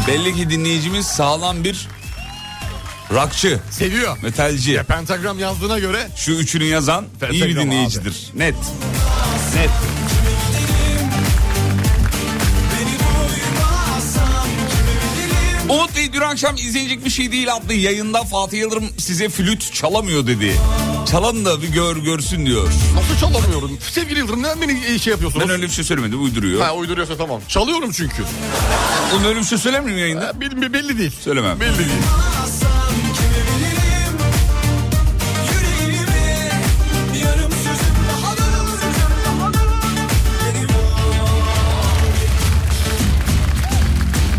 Speaker 2: Belli ki dinleyicimiz sağlam bir rockçı,
Speaker 3: Seviyor.
Speaker 2: metalci.
Speaker 3: Ya pentagram yazdığına göre
Speaker 2: Şu üçünü yazan iyi bir
Speaker 3: Pentagram
Speaker 2: dinleyicidir. Net. Net. Umut Bey dün akşam izleyecek bir şey değil adlı yayında Fatih Yıldırım size flüt çalamıyor dedi. Çalan da bir gör görsün diyor.
Speaker 3: nasıl çalamıyorum? Sevgili Yıldırım neden beni e, şey yapıyorsunuz?
Speaker 2: Ben öyle bir şey söylemedim uyduruyor.
Speaker 3: Ha uyduruyorsa tamam. Çalıyorum çünkü.
Speaker 2: Onun öyle bir şey söyler miyim yayında?
Speaker 3: Ha, bil- bil- belli değil.
Speaker 2: Söylemem.
Speaker 3: Belli değil.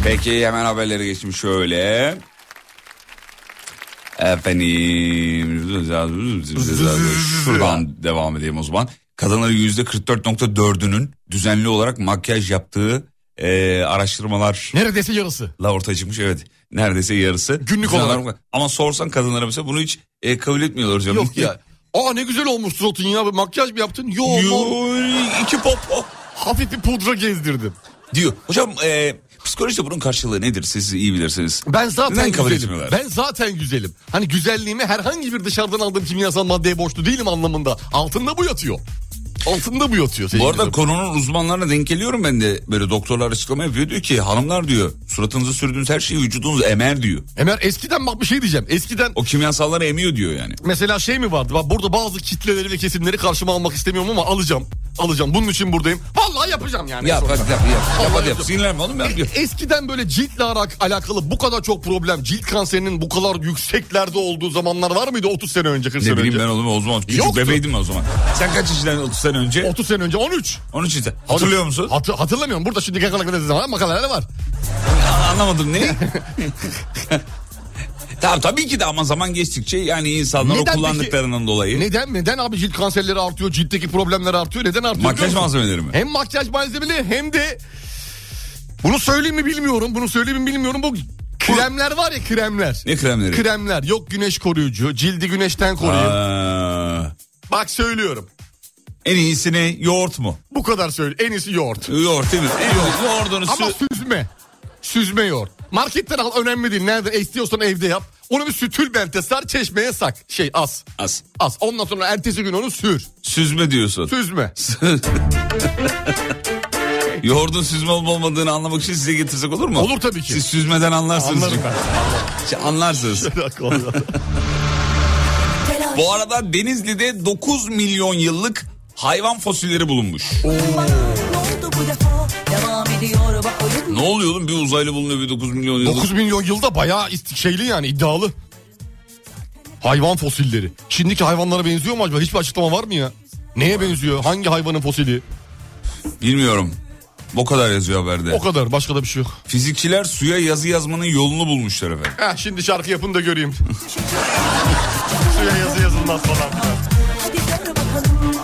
Speaker 2: Peki hemen haberlere geçtim şöyle. Efendim şuradan devam edeyim o zaman. Kadınların %44.4'ünün düzenli olarak makyaj yaptığı e, araştırmalar
Speaker 3: Neredeyse yarısı.
Speaker 2: La ortaya çıkmış evet. Neredeyse yarısı.
Speaker 3: Günlük
Speaker 2: Güzel
Speaker 3: olarak.
Speaker 2: adam- Ama sorsan kadınlara mesela bunu hiç e, kabul etmiyorlar hocam.
Speaker 3: Yok ya. Aa ne güzel olmuş suratın ya. Makyaj mı yaptın? Yo, yo.
Speaker 2: Yuh, iki popo
Speaker 3: Hafif bir pudra gezdirdim.
Speaker 2: Oh! diyor. Hocam e, psikolojide bunun karşılığı nedir? Siz iyi bilirsiniz.
Speaker 3: Ben zaten
Speaker 2: Neden kabul
Speaker 3: güzelim.
Speaker 2: etmiyorlar?
Speaker 3: Ben zaten güzelim. Hani güzelliğimi herhangi bir dışarıdan aldığım kimyasal maddeye borçlu değilim anlamında. Altında bu yatıyor. Altında bu yatıyor.
Speaker 2: Bu
Speaker 3: sevgili
Speaker 2: arada
Speaker 3: dostum.
Speaker 2: konunun uzmanlarına denk geliyorum ben de. Böyle doktorlar açıklama yapıyor. Diyor ki hanımlar diyor suratınızı sürdüğünüz her şeyi vücudunuz emer diyor.
Speaker 3: Emer eskiden bak bir şey diyeceğim. Eskiden
Speaker 2: O kimyasalları emiyor diyor yani.
Speaker 3: mesela şey mi vardı? Bak burada bazı kitleleri ve kesimleri karşıma almak istemiyorum ama alacağım. Alacağım. Bunun için buradayım. Vallahi yapacağım yani.
Speaker 2: Yap hadi yap yap. Yap hadi yap.
Speaker 3: Allah
Speaker 2: Sinirlenme oğlum yap. yap.
Speaker 3: E, Eskiden böyle ciltle alak- alakalı bu kadar çok problem, cilt kanserinin bu kadar yükseklerde olduğu zamanlar var mıydı 30 sene önce, 40
Speaker 2: Ne
Speaker 3: sene
Speaker 2: bileyim
Speaker 3: önce?
Speaker 2: ben oğlum o zaman küçük
Speaker 3: Yoktu.
Speaker 2: bebeydim ben
Speaker 3: *laughs*
Speaker 2: o zaman. Sen kaç yaşından 30 sene önce?
Speaker 3: 30 sene önce 13.
Speaker 2: Onun için sen hatırlıyor musun?
Speaker 3: Hatır, hatırlamıyorum. Burada şimdi gagana kadar zaman makaleler var.
Speaker 2: A- Anlamadım ne? *laughs* tamam tabii ki de ama zaman geçtikçe yani insanlar
Speaker 3: Neden
Speaker 2: o
Speaker 3: peki-
Speaker 2: kullandıklarından dolayı
Speaker 3: Neden? Neden abi cilt kanserleri artıyor, ciltteki problemler artıyor? Neden artıyor? biliyor
Speaker 2: makyaj
Speaker 3: musun?
Speaker 2: malzemeleri mi?
Speaker 3: Hem makyaj malzemeli hem de bunu söyleyeyim mi bilmiyorum. Bunu söyleyeyim mi bilmiyorum. Bu kremler var ya kremler.
Speaker 2: Ne kremleri?
Speaker 3: Kremler. Yok güneş koruyucu, cildi güneşten koruyor.
Speaker 2: Aa,
Speaker 3: Bak söylüyorum.
Speaker 2: en iyisi ne? Yoğurt mu?
Speaker 3: Bu kadar söyle. En iyisi yoğurt.
Speaker 2: Yoğurt değil mi? En iyisi yoğurdunu
Speaker 3: Ama
Speaker 2: sü-
Speaker 3: süzme. Süzme yoğurt. Marketten al önemli değil. Nerede istiyorsan evde yap. Onu bir sütül bente sar çeşmeye sak. Şey az.
Speaker 2: Az.
Speaker 3: Az. Ondan sonra ertesi gün onu sür.
Speaker 2: Süzme diyorsun.
Speaker 3: Süzme.
Speaker 2: *laughs* Yoğurdun süzme olup olmadığını anlamak için size getirsek olur mu?
Speaker 3: Olur tabii ki.
Speaker 2: Siz süzmeden anlarsınız.
Speaker 3: Anlarım
Speaker 2: çünkü. Şey, anlarsınız. Bu arada Denizli'de 9 milyon yıllık hayvan fosilleri bulunmuş.
Speaker 1: Ne oldu bu defa? Devam ediyor bak oyun.
Speaker 2: Ne oluyor oğlum? Bir uzaylı bulunuyor bir 9 milyon yıllık.
Speaker 3: 9 milyon yılda bayağı isti- şeyli yani iddialı. Hayvan fosilleri. Şimdiki hayvanlara benziyor mu acaba? Hiçbir açıklama var mı ya? Neye benziyor? Hangi hayvanın fosili?
Speaker 2: Bilmiyorum. O kadar yazıyor haberde.
Speaker 3: O kadar. Başka da bir şey yok.
Speaker 2: Fizikçiler suya yazı yazmanın yolunu bulmuşlar efendim.
Speaker 3: Heh, şimdi şarkı yapın da göreyim. Suya yazı yazılmaz falan.
Speaker 1: Hadi gör bakalım.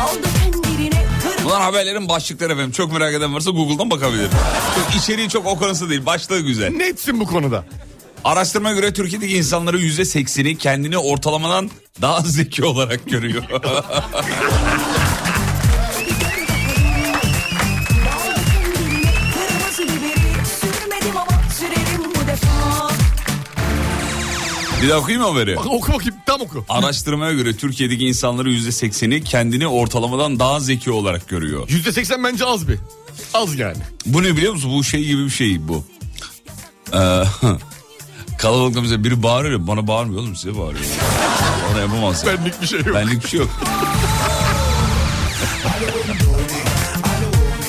Speaker 1: Aldı pendirine kır.
Speaker 2: Bunlar haberlerin başlıkları efendim. Çok merak eden varsa Google'dan bakabilir. Çok, içeriği çok o konusu değil. Başlığı güzel.
Speaker 3: Netsin bu konuda.
Speaker 2: Araştırma göre Türkiye'deki insanların yüzde sekseni kendini ortalamadan daha *laughs* zeki olarak görüyor. *laughs*
Speaker 1: Aldı pendirine kırmızı biberi. Sürmedim ama sürerim bu defa.
Speaker 2: bir daha okuyayım mı haberi?
Speaker 3: Bak, oku bakayım. Tam oku.
Speaker 2: Araştırmaya göre Türkiye'deki insanların yüzde sekseni kendini ortalamadan daha zeki olarak görüyor.
Speaker 3: Yüzde seksen bence az bir. Az yani.
Speaker 2: Bu ne biliyor musun? Bu şey gibi bir şey bu. Ee, *laughs* kalabalıkta bize biri bağırıyor. ya, Bana bağırmıyor oğlum size bağırıyor. Bana yapamazsın.
Speaker 3: Benlik bir şey yok.
Speaker 2: Benlik bir şey yok.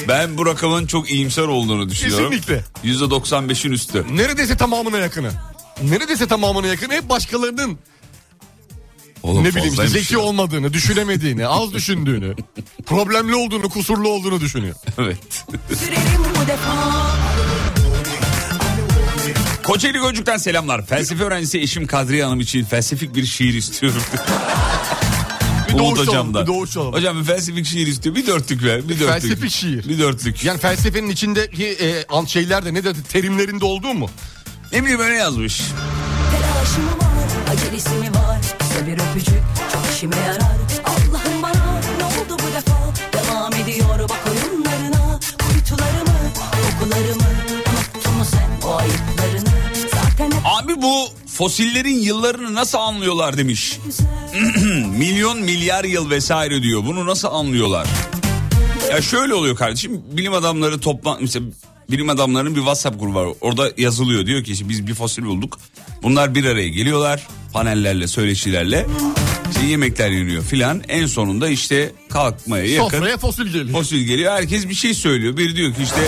Speaker 2: Ben bu rakamın çok iyimser olduğunu düşünüyorum.
Speaker 3: Kesinlikle.
Speaker 2: %95'in üstü. *laughs*
Speaker 3: Neredeyse tamamına yakını. Neredeyse tamamına yakını hep başkalarının
Speaker 2: Oğlum
Speaker 3: ne bileyim işte
Speaker 2: fazlaymış
Speaker 3: zeki
Speaker 2: ya.
Speaker 3: olmadığını, düşünemediğini,
Speaker 2: *laughs*
Speaker 3: az düşündüğünü, problemli olduğunu, kusurlu olduğunu düşünüyor.
Speaker 2: Evet.
Speaker 1: Sürerim bu defa.
Speaker 2: Kocaeli Gölcük'ten selamlar. Felsefe öğrencisi eşim Kadriye Hanım için felsefik bir şiir istiyorum.
Speaker 3: *laughs* Bir
Speaker 2: Umut
Speaker 3: doğuş alalım,
Speaker 2: hocamdan.
Speaker 3: bir doğuş alalım.
Speaker 2: Hocam bir felsefik şiir istiyor. Bir dörtlük ver. E, Bir dörtlük.
Speaker 3: Felsefik şiir.
Speaker 2: Bir dörtlük.
Speaker 3: Yani felsefenin içindeki e, an- şeylerde ne dedi terimlerinde olduğu mu?
Speaker 2: ne bileyim öyle yazmış.
Speaker 1: Telaşı mı var, acelesi mi var? Size bir öpücük çok işime yarar. Allah'ım bana ne oldu bu defa? Devam ediyor bak oyunlarına. Kuytularımı, kokularımı unuttun mu sen o ayıplarını? Zaten hep
Speaker 2: Abi bu fosillerin yıllarını nasıl anlıyorlar demiş. *clears throat*
Speaker 1: güzel.
Speaker 2: Milyon milyar yıl vesaire diyor. Bunu nasıl anlıyorlar? Ya şöyle oluyor kardeşim. Bilim adamları toplan... Mesela bilim adamlarının bir WhatsApp grubu var. Orada yazılıyor. Diyor ki işte biz bir fosil bulduk. Bunlar bir araya geliyorlar. Panellerle, söyleşilerle. İşte yemekler yeniyor filan. En sonunda işte kalkmaya yakın
Speaker 3: Sofraya fosil geliyor.
Speaker 2: fosil geliyor. Herkes bir şey söylüyor. Biri diyor ki işte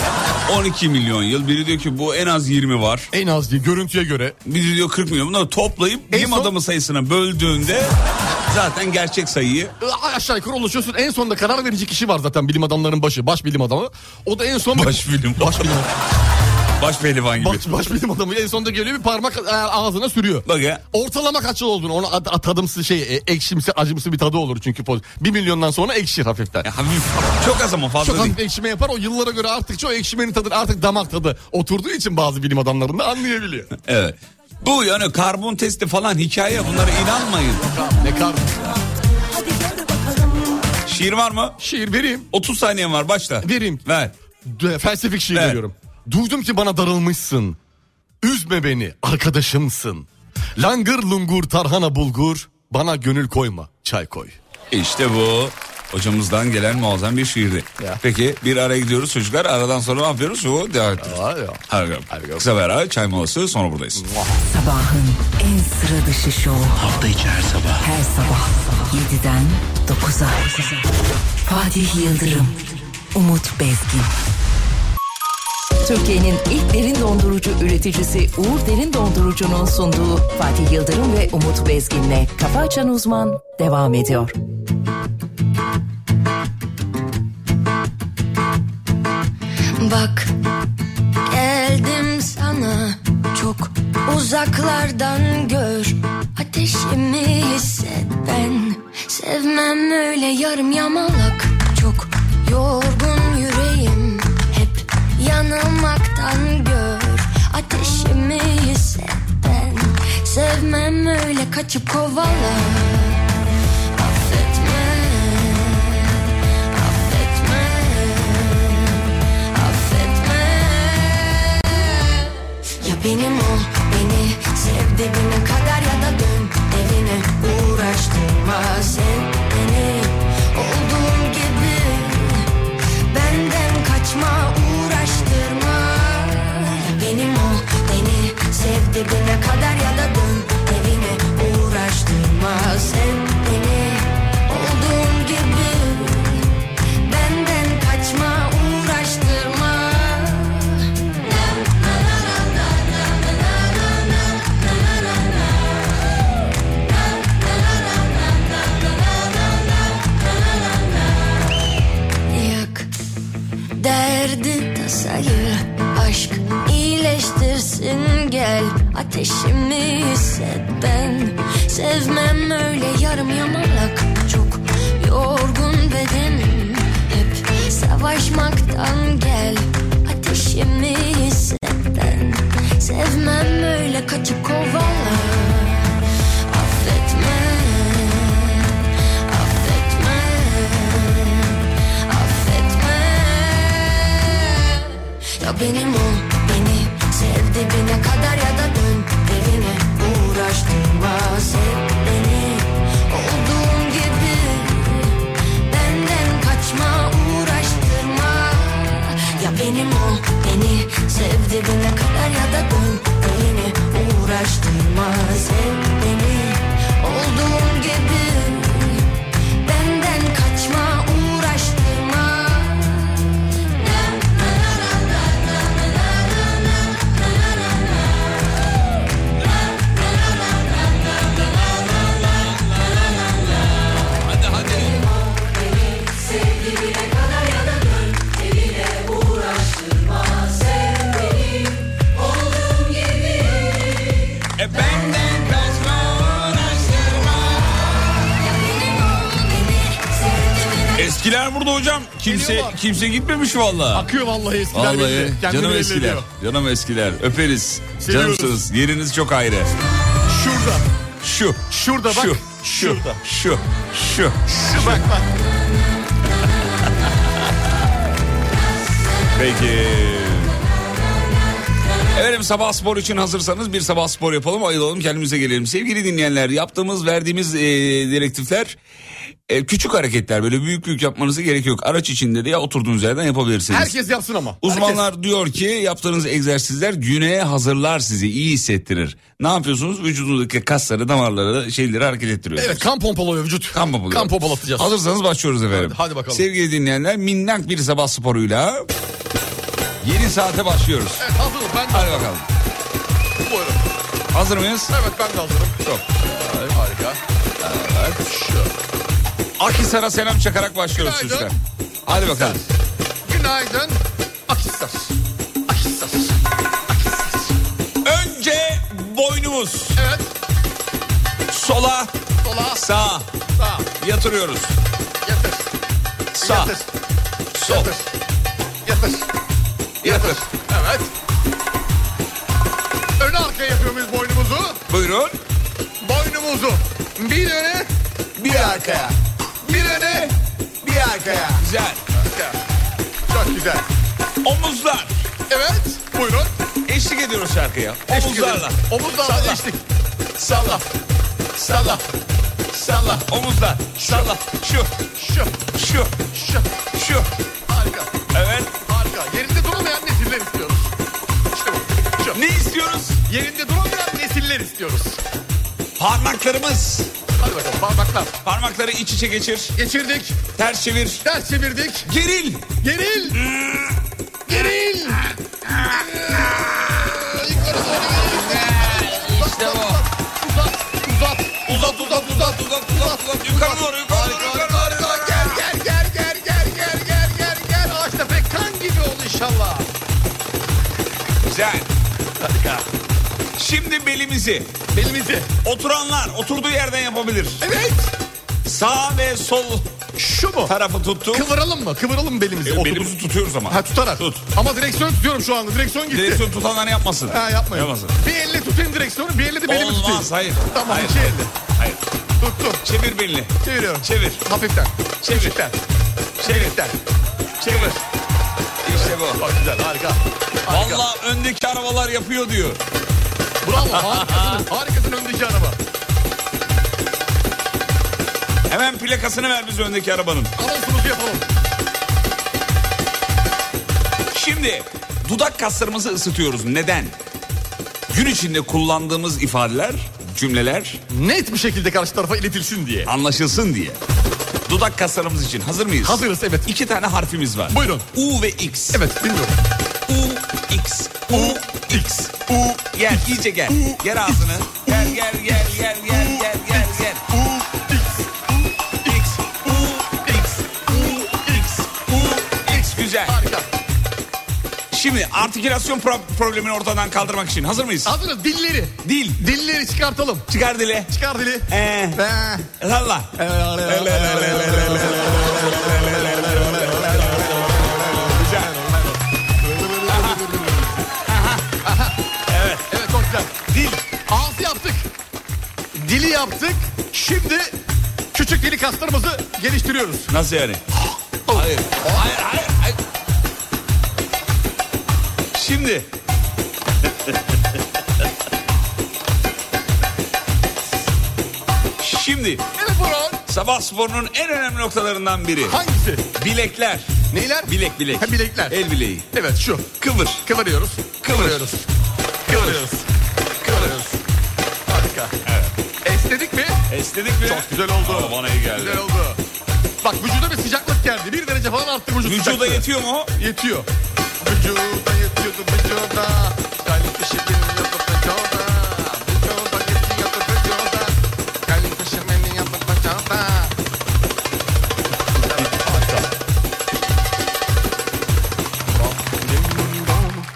Speaker 2: 12 milyon yıl. Biri diyor ki bu en az 20 var.
Speaker 3: En az diye görüntüye göre.
Speaker 2: Bizi diyor 40 milyon. Bunları toplayıp
Speaker 3: En
Speaker 2: bilim
Speaker 3: son-
Speaker 2: adamı sayısına böldüğünde zaten gerçek sayıyı
Speaker 3: e, Aşağı yukarı oluşuyorsun. En sonunda karar verici kişi var zaten bilim adamlarının başı. Baş bilim adamı. O da en son...
Speaker 2: Baş bilim-
Speaker 3: Baş bilim adamı.
Speaker 2: Baş pehlivan gibi.
Speaker 3: Baş, baş bilim adamı en sonunda geliyor bir parmak a- ağzına sürüyor.
Speaker 2: Bak ya.
Speaker 3: Ortalama kaç yıl olduğunu ona ad- ad- tadımsı şey e, ekşimsi acımsı bir tadı olur çünkü. poz- Bir milyondan sonra ekşir hafiften.
Speaker 2: Ya hafif. Çok az ama fazla
Speaker 3: Çok
Speaker 2: değil.
Speaker 3: hafif ekşime yapar o yıllara göre arttıkça o ekşimenin tadı artık damak tadı oturduğu için bazı bilim adamlarında anlayabiliyor.
Speaker 2: Evet. Bu yani karbon testi falan hikaye bunlara inanmayın.
Speaker 3: ne kadar
Speaker 8: Hadi gör bakalım
Speaker 2: Şiir var mı?
Speaker 3: şiir vereyim.
Speaker 2: 30 saniyen var başla.
Speaker 3: Vereyim.
Speaker 2: Ver.
Speaker 3: D- felsefik şiir
Speaker 2: Evet.
Speaker 3: veriyorum. Duydum ki bana darılmışsın. Üzme beni arkadaşımsın. Langır lungur tarhana bulgur. Bana gönül koyma çay koy.
Speaker 2: İşte bu. Hocamızdan gelen muazzam bir şiirdi.
Speaker 3: Ya.
Speaker 2: Peki bir araya gidiyoruz çocuklar. Aradan sonra ne yapıyoruz? Bu devam ediyoruz.
Speaker 3: Var ya.
Speaker 2: Harika. Kısa bir ara çay molası sonra buradayız.
Speaker 7: Sabahın en sıra dışı şovu.
Speaker 9: Hafta içi her sabah
Speaker 7: Her sabah 7'den 9'a. Fatih Yıldırım, Umut Bezgin. Türkiye'nin ilk derin dondurucu üreticisi Uğur Derin Dondurucu'nun sunduğu Fatih Yıldırım ve Umut Bezgin'le Kafa Açan Uzman devam ediyor.
Speaker 10: Bak geldim sana çok uzaklardan gör Ateşimi hisset ben sevmem öyle yarım yamalak Çok yorgun yüreğim hep yanılmaktan gör Ateşimi hisset ben sevmem öyle kaçıp kovala Affetme affetme affetme Ya benim ol beni sev dibine kadar ya da dön evine uğraştırma sen beni olduğum gibi benden kaçma uğraştırma Ya benim ol beni sev dibine kadar ya da dön evine uğraştırma sen beni olduğum gibi Benden kaçma uğraştırma Yak derdi tasayı Aşk iyileştirsin gel Ateşimi hisset ben Sevmem öyle yarım yamalak Çok yorgun bedenim Hep savaşmaktan gel Ateşimi hisset ben Sevmem öyle kaçıp kovala Affetme Affetme affetme Ya benim ol beni sev dibine kadar ya da dön evine uğraştırma sev beni olduğum gibi benden kaçma uğraştırma Ya benim ol beni sev dibine kadar ya da dön evine uğraştırma sev beni olduğum gibi Benden kaçma uğraştırma
Speaker 2: E benden kaçma uğraştırma. Eskiler burada hocam. Kimse
Speaker 3: Geliyorlar.
Speaker 2: kimse gitmemiş valla.
Speaker 3: Akıyor vallahi eskiler
Speaker 2: Vallahi
Speaker 3: belli. Kendini
Speaker 2: canım
Speaker 3: belli
Speaker 2: eskiler.
Speaker 3: ediyor.
Speaker 2: Canım eskiler. Öperiz.
Speaker 3: Seviyoruz.
Speaker 2: Canımsınız. Yeriniz çok ayrı.
Speaker 3: Şurada.
Speaker 2: Şu.
Speaker 3: Şurada bak.
Speaker 2: Şu. Şu.
Speaker 3: Şurada.
Speaker 2: Şu. Şu.
Speaker 3: Şu bak bak.
Speaker 2: Peki. Efendim sabah spor için hazırsanız bir sabah spor yapalım ayılalım kendimize gelelim. Sevgili dinleyenler yaptığımız verdiğimiz e, direktifler e, küçük hareketler böyle büyük büyük yapmanıza gerek yok. Araç içinde de ya oturduğunuz yerden yapabilirsiniz.
Speaker 3: Herkes yapsın ama.
Speaker 2: Uzmanlar diyor ki yaptığınız egzersizler güneye hazırlar sizi iyi hissettirir. Ne yapıyorsunuz? Vücudunuzdaki kasları damarları şeyleri hareket ettiriyor.
Speaker 3: Herkes. Evet kan pompalıyor vücut.
Speaker 2: Kan pompalı.
Speaker 3: Kan pompalatacağız.
Speaker 2: Hazırsanız başlıyoruz efendim.
Speaker 3: Hadi, hadi bakalım.
Speaker 2: Sevgili dinleyenler minnak bir sabah sporuyla yeni saate başlıyoruz.
Speaker 3: Evet hazırım ben de
Speaker 2: Hadi bakalım.
Speaker 3: buyurun.
Speaker 2: Hazır mıyız?
Speaker 3: Evet ben de hazırım.
Speaker 2: Çok.
Speaker 3: Evet, harika. Evet şu.
Speaker 2: Akisar'a selam çakarak başlıyoruz
Speaker 3: Günaydın.
Speaker 2: çocuklar. Hadi bakalım.
Speaker 3: Günaydın. Akisar. Akisar.
Speaker 2: boynumuz.
Speaker 3: Evet.
Speaker 2: Sola,
Speaker 3: Sola.
Speaker 2: sağa
Speaker 3: Sağ.
Speaker 2: yatırıyoruz.
Speaker 3: Yatır.
Speaker 2: Sağ,
Speaker 3: Yatır.
Speaker 2: sol,
Speaker 3: Yatır. Yatır.
Speaker 2: yatır.
Speaker 3: Evet. Öne arkaya yapıyoruz boynumuzu.
Speaker 2: Buyurun.
Speaker 3: Boynumuzu. Bir öne,
Speaker 2: Bir arkaya.
Speaker 3: bir öne, bir arkaya.
Speaker 2: Güzel.
Speaker 3: Çok güzel.
Speaker 2: Omuzlar.
Speaker 3: Evet. Buyurun.
Speaker 2: Eşlik ediyoruz şarkıya. Omuzlarla.
Speaker 3: Omuzlarla geçtik.
Speaker 2: Salla. Salla. Salla. Omuzlar. Salla. Şu.
Speaker 3: Şu,
Speaker 2: Şu.
Speaker 3: şu.
Speaker 2: Şu.
Speaker 3: Harika,
Speaker 2: Evet.
Speaker 3: harika. Yerinde duramayan nesiller istiyoruz. İşte bu. Şu.
Speaker 2: Ne istiyoruz?
Speaker 3: Yerinde duramayan nesiller istiyoruz.
Speaker 2: Parmaklarımız.
Speaker 3: Hadi bakalım parmaklar.
Speaker 2: Parmakları iç içe geçir.
Speaker 3: Geçirdik.
Speaker 2: Ters çevir.
Speaker 3: Ters çevirdik.
Speaker 2: Geril. Hmm.
Speaker 3: Geril. Geril.
Speaker 2: İşte bu.
Speaker 3: Uzat, uzat.
Speaker 2: Uzat uzat uzat uzat uzat uzat. Yukarı doğru yukarı doğru yukarı doğru.
Speaker 3: Harika, harika. Gel, gel, gel, gel, gel, gel, gel, gel, gel. Ağaçta pekkan gibi ol inşallah. *laughs*
Speaker 2: Güzel. Şimdi belimizi
Speaker 3: Belimizi.
Speaker 2: oturanlar oturduğu yerden yapabilir.
Speaker 3: Evet.
Speaker 2: Sağ ve sol
Speaker 3: Oh. Şu mu?
Speaker 2: tarafı tuttu.
Speaker 3: Kıvıralım mı? Kıvıralım belimizi.
Speaker 2: E,
Speaker 3: Otur-
Speaker 2: belimizi tutuyoruz ama.
Speaker 3: Ha tutarak.
Speaker 2: Tut.
Speaker 3: Ama direksiyon tutuyorum şu anda. Direksiyon gitti.
Speaker 2: Direksiyon tutanlar yapmasın.
Speaker 3: Ha yapmayın.
Speaker 2: Yapmasın.
Speaker 3: Bir elle tutayım direksiyonu, bir elle de belimi tutayım.
Speaker 2: Olmaz hayır.
Speaker 3: Tamam
Speaker 2: hayır.
Speaker 3: iki elle.
Speaker 2: Hayır.
Speaker 3: Tuttum.
Speaker 2: Çevir belini.
Speaker 3: Çeviriyorum.
Speaker 2: Çevir.
Speaker 3: Hafiften.
Speaker 2: Çevir.
Speaker 3: Küçükten.
Speaker 2: Çevir.
Speaker 3: Küçükten.
Speaker 2: Çevir. Şey İşte bu.
Speaker 3: Bak güzel harika. harika.
Speaker 2: Valla öndeki arabalar yapıyor diyor.
Speaker 3: Bravo
Speaker 2: *laughs*
Speaker 3: harikasın. harikasın öndeki araba.
Speaker 2: Hemen plakasını ver bize öndeki arabanın.
Speaker 3: Anonsumuzu yapalım.
Speaker 2: Şimdi dudak kaslarımızı ısıtıyoruz. Neden? Gün içinde kullandığımız ifadeler, cümleler
Speaker 3: Net bir şekilde karşı tarafa iletilsin diye.
Speaker 2: anlaşılsın diye. Dudak kaslarımız için hazır mıyız?
Speaker 3: Hazırız evet.
Speaker 2: İki tane harfimiz var.
Speaker 3: Buyurun.
Speaker 2: U ve X.
Speaker 3: Evet dinliyorum.
Speaker 2: U, X. U, X. U, gel iyice gel. Gel ağzını. Gel gel gel gel gel gel gel gel.
Speaker 3: U, X,
Speaker 2: X. U, X. U, X. U, X. Güzel.
Speaker 3: harika.
Speaker 2: Şimdi artikülasyon pro- problemini ortadan kaldırmak için hazır mıyız?
Speaker 3: Hazırız dilleri.
Speaker 2: Dil.
Speaker 3: Dilleri çıkartalım.
Speaker 2: Çıkar dili.
Speaker 3: Çıkar dili.
Speaker 2: Ee,
Speaker 3: Ee,
Speaker 2: salla. Güzel.
Speaker 3: Evet çok güzel.
Speaker 2: Dil.
Speaker 3: Ağzı yaptık. Dili yaptık. Şimdi küçük dili kaslarımızı geliştiriyoruz.
Speaker 2: Nasıl yani? Hayır. Hayır, hayır, hayır. Şimdi. Şimdi
Speaker 3: Evet Burhan.
Speaker 2: sabah sporunun en önemli noktalarından biri.
Speaker 3: Hangisi?
Speaker 2: Bilekler.
Speaker 3: Neyler?
Speaker 2: Bilek bilek.
Speaker 3: Ha, bilekler.
Speaker 2: El bileği.
Speaker 3: Evet şu.
Speaker 2: Kıvır.
Speaker 3: Kıvırıyoruz. Kıvırıyoruz. Kıvırıyoruz. Kıvırıyoruz. Harika. Esnedik mi?
Speaker 2: Esnedik mi?
Speaker 3: Çok güzel oldu.
Speaker 2: Aa, bana iyi geldi.
Speaker 3: Güzel oldu. Bak vücuda bir sıcaklık geldi. Bir derece falan arttı vücut
Speaker 2: Vücuda
Speaker 3: sıcaklığı.
Speaker 2: yetiyor mu?
Speaker 3: Yetiyor. Vücuda yetiyordu vücuda. Kalp dışı bilmiyordu vücuda. Vücuda yetiyordu vücuda. Kalp dışı bilmiyordu vücuda.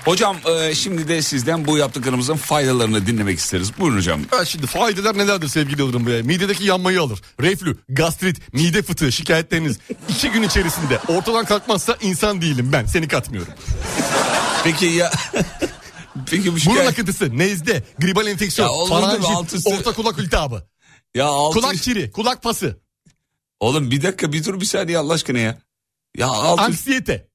Speaker 2: Hocam e, şimdi de sizden bu yaptıklarımızın faydalarını dinlemek isteriz. Buyurun hocam.
Speaker 3: Evet şimdi faydalar nelerdir sevgili Yıldırım Bey? Midedeki yanmayı alır. Reflü, gastrit, mide fıtığı
Speaker 2: *laughs*
Speaker 3: şikayetleriniz iki gün içerisinde ortadan kalkmazsa insan değilim ben. Seni katmıyorum. *laughs*
Speaker 2: Peki ya... Peki bu
Speaker 3: Burun
Speaker 2: şikayet...
Speaker 3: akıntısı, nezle, gribal enfeksiyon,
Speaker 2: Ya olur mu? Alt
Speaker 3: faranjit,
Speaker 2: üstü-
Speaker 3: orta kulak iltihabı,
Speaker 2: Ya altı...
Speaker 3: kulak çiri, kulak pası,
Speaker 2: Oğlum bir dakika bir dur bir saniye Allah aşkına ya. Ya altı...
Speaker 3: anksiyete.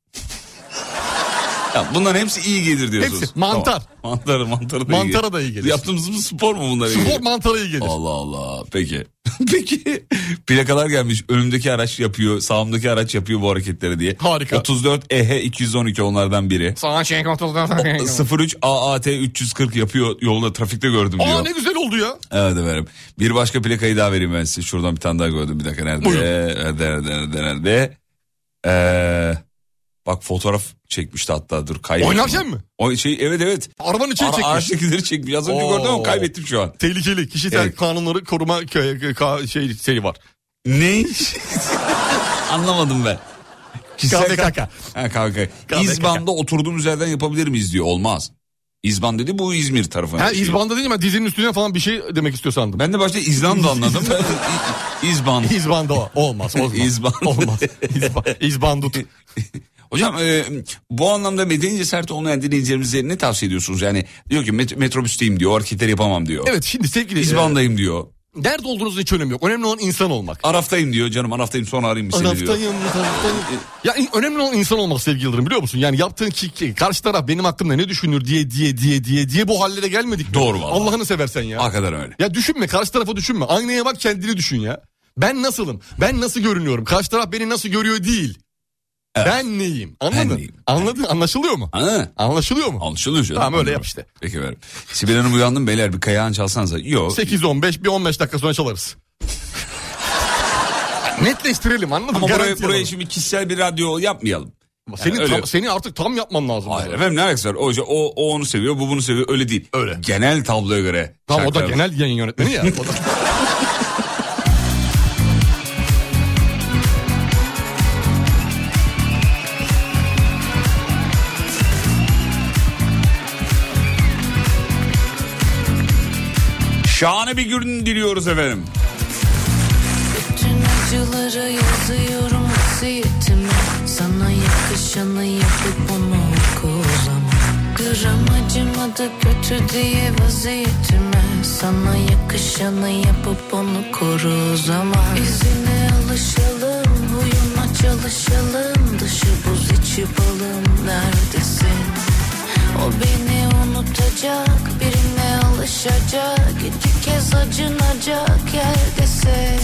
Speaker 2: Ya bunların hepsi iyi gelir diyorsunuz.
Speaker 3: Hepsi. Mantar.
Speaker 2: Tamam. Mantarı mantarı da iyi
Speaker 3: Mantara
Speaker 2: gelir.
Speaker 3: da iyi gelir.
Speaker 2: Yaptığımız mı spor mu bunlar? iyi
Speaker 3: Spor
Speaker 2: gelir?
Speaker 3: mantarı iyi gelir.
Speaker 2: Allah Allah. Peki. *laughs* Peki. Plakalar gelmiş. Önümdeki araç yapıyor. Sağımdaki araç yapıyor bu hareketleri diye.
Speaker 3: Harika.
Speaker 2: 34 EH 212 onlardan biri.
Speaker 3: Sana şey kontrol
Speaker 2: 03 AAT 340 yapıyor yolda trafikte gördüm diyor.
Speaker 3: Aa ne güzel oldu ya.
Speaker 2: Evet efendim. Bir başka plakayı daha vereyim ben size. Şuradan bir tane daha gördüm. Bir dakika nerede?
Speaker 3: Buyurun.
Speaker 2: Nerede nerede nerede nerede? Ee, bak fotoğraf çekmişti hatta dur kaybettim.
Speaker 3: Oynarken mi?
Speaker 2: O şey evet evet.
Speaker 3: Arabanın içine
Speaker 2: Ara,
Speaker 3: çekmiş.
Speaker 2: araçtakileri çekmiş. Az önce
Speaker 3: Oo.
Speaker 2: gördüm ama kaybettim şu an.
Speaker 3: Tehlikeli kişisel
Speaker 2: Evet.
Speaker 3: kanunları koruma kö- kö- şey şeyi var.
Speaker 2: Ne? Anlamadım ben. Kişisel
Speaker 3: KVKK.
Speaker 2: Ha, KVKK.
Speaker 3: KVKK.
Speaker 2: İzban'da oturduğumuz yerden yapabilir miyiz diyor. Olmaz. İzban dedi bu İzmir tarafı.
Speaker 3: Ha İzban'da değil mi? Dizinin üstüne falan bir şey demek istiyor sandım.
Speaker 2: Ben de başta İzlanda anladım. *laughs* İzban.
Speaker 3: İzban'da o. olmaz. olmaz.
Speaker 2: İzban.
Speaker 3: Olmaz. İzban, İzbandut.
Speaker 2: *laughs* Hocam e, bu anlamda medeni cesareti olmayan dinleyicilerimize ne tavsiye ediyorsunuz? Yani diyor ki met- metrobüsteyim diyor, hareketler yapamam diyor.
Speaker 3: Evet şimdi sevgili. e,
Speaker 2: İzban'dayım diyor.
Speaker 3: nerede olduğunuzun hiç önemi yok. Önemli olan insan olmak.
Speaker 2: Araftayım diyor canım araftayım sonra arayayım seni diyor.
Speaker 3: Taraftayım, taraftayım. Ya in- önemli olan insan olmak sevgili Yıldırım biliyor musun? Yani yaptığın ki, ki karşı taraf benim hakkımda ne düşünür diye diye diye diye diye bu hallere gelmedik mi?
Speaker 2: Doğru vallahi.
Speaker 3: Allah'ını seversen ya.
Speaker 2: Hakikaten öyle.
Speaker 3: Ya düşünme karşı tarafa düşünme. Aynaya bak kendini düşün ya. Ben nasılım? Ben nasıl görünüyorum? Karşı taraf beni nasıl görüyor değil. Ben neyim? Anladın?
Speaker 2: Ben neyim?
Speaker 3: Anladın? Anlaşılıyor mu?
Speaker 2: Ha?
Speaker 3: Anlaşılıyor mu?
Speaker 2: Anlaşılıyor canım.
Speaker 3: Tamam, öyle yap işte.
Speaker 2: Peki ver. Sibel Hanım uyandım beyler bir kayağın çalsanıza. Yok.
Speaker 3: 8-15 bir 15 dakika sonra çalarız. Netleştirelim anladın mı?
Speaker 2: Ama buraya,
Speaker 3: Garanti
Speaker 2: buraya
Speaker 3: alalım.
Speaker 2: şimdi kişisel bir radyo yapmayalım.
Speaker 3: Senin,
Speaker 2: Yani öyle-
Speaker 3: tam- seni artık tam yapman lazım.
Speaker 2: Hayır efendim ne alakası var? O, işte o, o onu seviyor, bu bunu seviyor. Öyle değil.
Speaker 3: Öyle.
Speaker 2: Genel tabloya göre.
Speaker 3: Tamam o da
Speaker 2: şarkılar-
Speaker 3: genel yayın yönetmeni ya. O da...
Speaker 2: *laughs* Şahane bir gün diliyoruz efendim.
Speaker 11: Bütün acıları yazıyorum vasiyetime Sana yakışanı yapıp onu oku o zaman Gram acımadı kötü diye vaziyetime Sana yakışanı yapıp onu koru o zaman İzine alışalım huyuna çalışalım Dışı buz içi balım neredesin O beni unutacak birine alışacak İki kez acınacak yerdesin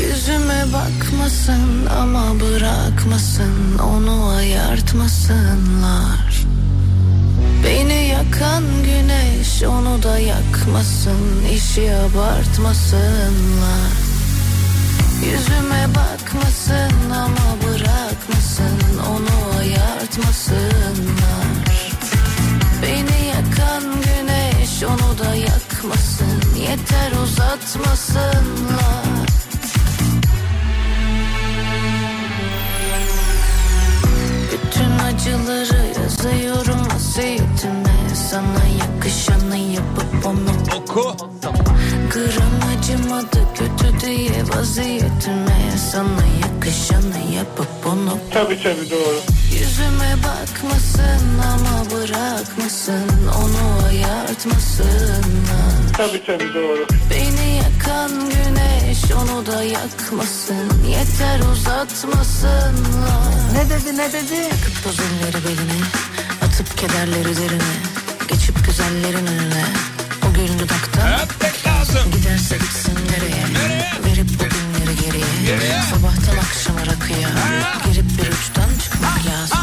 Speaker 11: Yüzüme bakmasın ama bırakmasın onu ayartmasınlar Beni yakan güneş onu da yakmasın işi abartmasınlar Yüzüme bakmasın ama bırakmasın onu ayartmasınlar Beni yakan güneş onu da yakmasın yeter uzatmasınlar Bütün acıları yazıyorum vasiyetime Sana yakışanı yapıp onu
Speaker 2: Oku.
Speaker 11: Gram acımadı kötü diye vaziyetime Sana yakışanı yapıp onu Tabi tabi doğru Yüzüme bakmasın ama bırakmasın Onu ayartmasınlar Beni yakan güneş onu da yakmasın Yeter uzatmasınlar Ne dedi ne dedi? Yakıp tozunları beline Atıp kederleri derine Geçip güzellerin önüne O gül dudaktan
Speaker 2: Öpmek lazım.
Speaker 11: Giderse gitsin nereye? Verip o günleri geriye. Sabahtan akşama rakıya. Girip bir uçtan çıkmak lazım.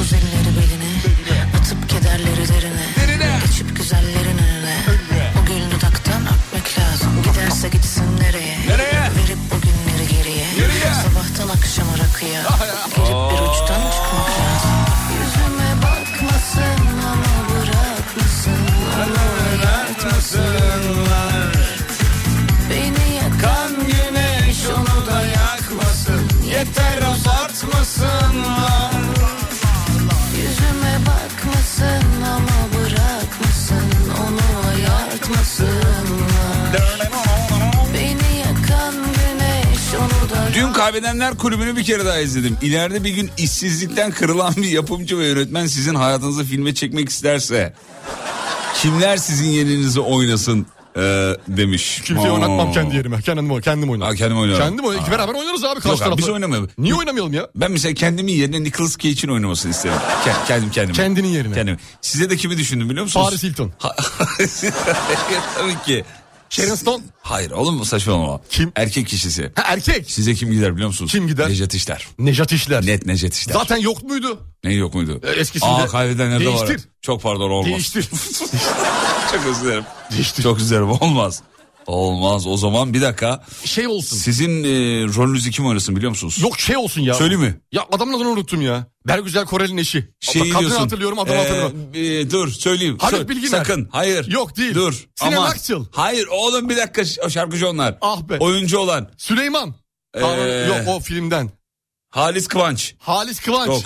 Speaker 11: Buz elleri beline. Atıp kederleri derine. Geçip güzellerin önüne. O gül dudaktan öpmek lazım. Giderse gitsin nereye? Verip o günleri geriye. Ah Sabahtan akşama rakıya. Girip bir uçtan çıkmak lazım. Yüzüme bakmasın ama bırakmasın. Onu ayartmasınlar. Beni yakan güneş onu da yakmasın Yeter uzatmasınlar Yüzüme bakmasın ama bırakmasın Onu ayartmasınlar Beni yakan güneş onu da
Speaker 2: Dün Kaybedenler Kulübü'nü bir kere daha izledim. İleride bir gün işsizlikten kırılan bir yapımcı ve yönetmen sizin hayatınızı filme çekmek isterse... ...kimler sizin yerinizi oynasın e, demiş.
Speaker 3: Kimseye
Speaker 2: Aa.
Speaker 3: oynatmam kendi yerime. Kendim, kendim oynarım.
Speaker 2: Ha, kendim oynarım.
Speaker 3: Kendim oynarım. Beraber oynarız abi
Speaker 2: Yok
Speaker 3: karşı
Speaker 2: abi,
Speaker 3: tarafla.
Speaker 2: biz oynamayalım.
Speaker 3: Niye oynamayalım ya?
Speaker 2: Ben mesela kendimin yerine Nicolas Cage'in oynamasını isterim. Ke- kendim kendime.
Speaker 3: Kendinin yerine.
Speaker 2: Kendim. Size de kimi düşündüm biliyor musunuz?
Speaker 3: Paris Hilton.
Speaker 2: Ha- *laughs* Tabii ki.
Speaker 3: Sharon Stone.
Speaker 2: Hayır oğlum bu saçmalama.
Speaker 3: Kim?
Speaker 2: Erkek kişisi.
Speaker 3: Ha, erkek.
Speaker 2: Size kim gider biliyor musunuz?
Speaker 3: Kim gider?
Speaker 2: Necdet İşler.
Speaker 3: Nejat İşler.
Speaker 2: Net Necdet İşler.
Speaker 3: Zaten yok muydu?
Speaker 2: Ne yok muydu?
Speaker 3: E, eskisinde.
Speaker 2: Aa kaybedenlerde var.
Speaker 3: Değiştir.
Speaker 2: Çok pardon olmaz.
Speaker 3: Değiştir.
Speaker 2: Çok özür dilerim.
Speaker 3: Değiştir.
Speaker 2: Çok özür dilerim olmaz. Olmaz o zaman bir dakika.
Speaker 3: Şey olsun.
Speaker 2: Sizin e, rolünüzü kim oynasın biliyor musunuz?
Speaker 3: Yok şey olsun ya.
Speaker 2: Söyle mi?
Speaker 3: Ya adamın adını unuttum ya. Bergüzel Korel'in eşi.
Speaker 2: Şey
Speaker 3: Kadını hatırlıyorum adamı hatırlamıyorum.
Speaker 2: E, dur söyleyeyim.
Speaker 3: Haluk
Speaker 2: Sö-
Speaker 3: Bilginer.
Speaker 2: Sakın hayır.
Speaker 3: Yok, değil.
Speaker 2: Dur.
Speaker 3: Sinan
Speaker 2: aman.
Speaker 3: Akçıl.
Speaker 2: Hayır oğlum bir dakika ş- o şarkıcı onlar.
Speaker 3: Ah be.
Speaker 2: Oyuncu olan
Speaker 3: Süleyman. Kaan-
Speaker 2: Ee,
Speaker 3: Yok o filmden.
Speaker 2: Halis Kıvanç.
Speaker 3: Halis Kıvanç.
Speaker 2: Yok.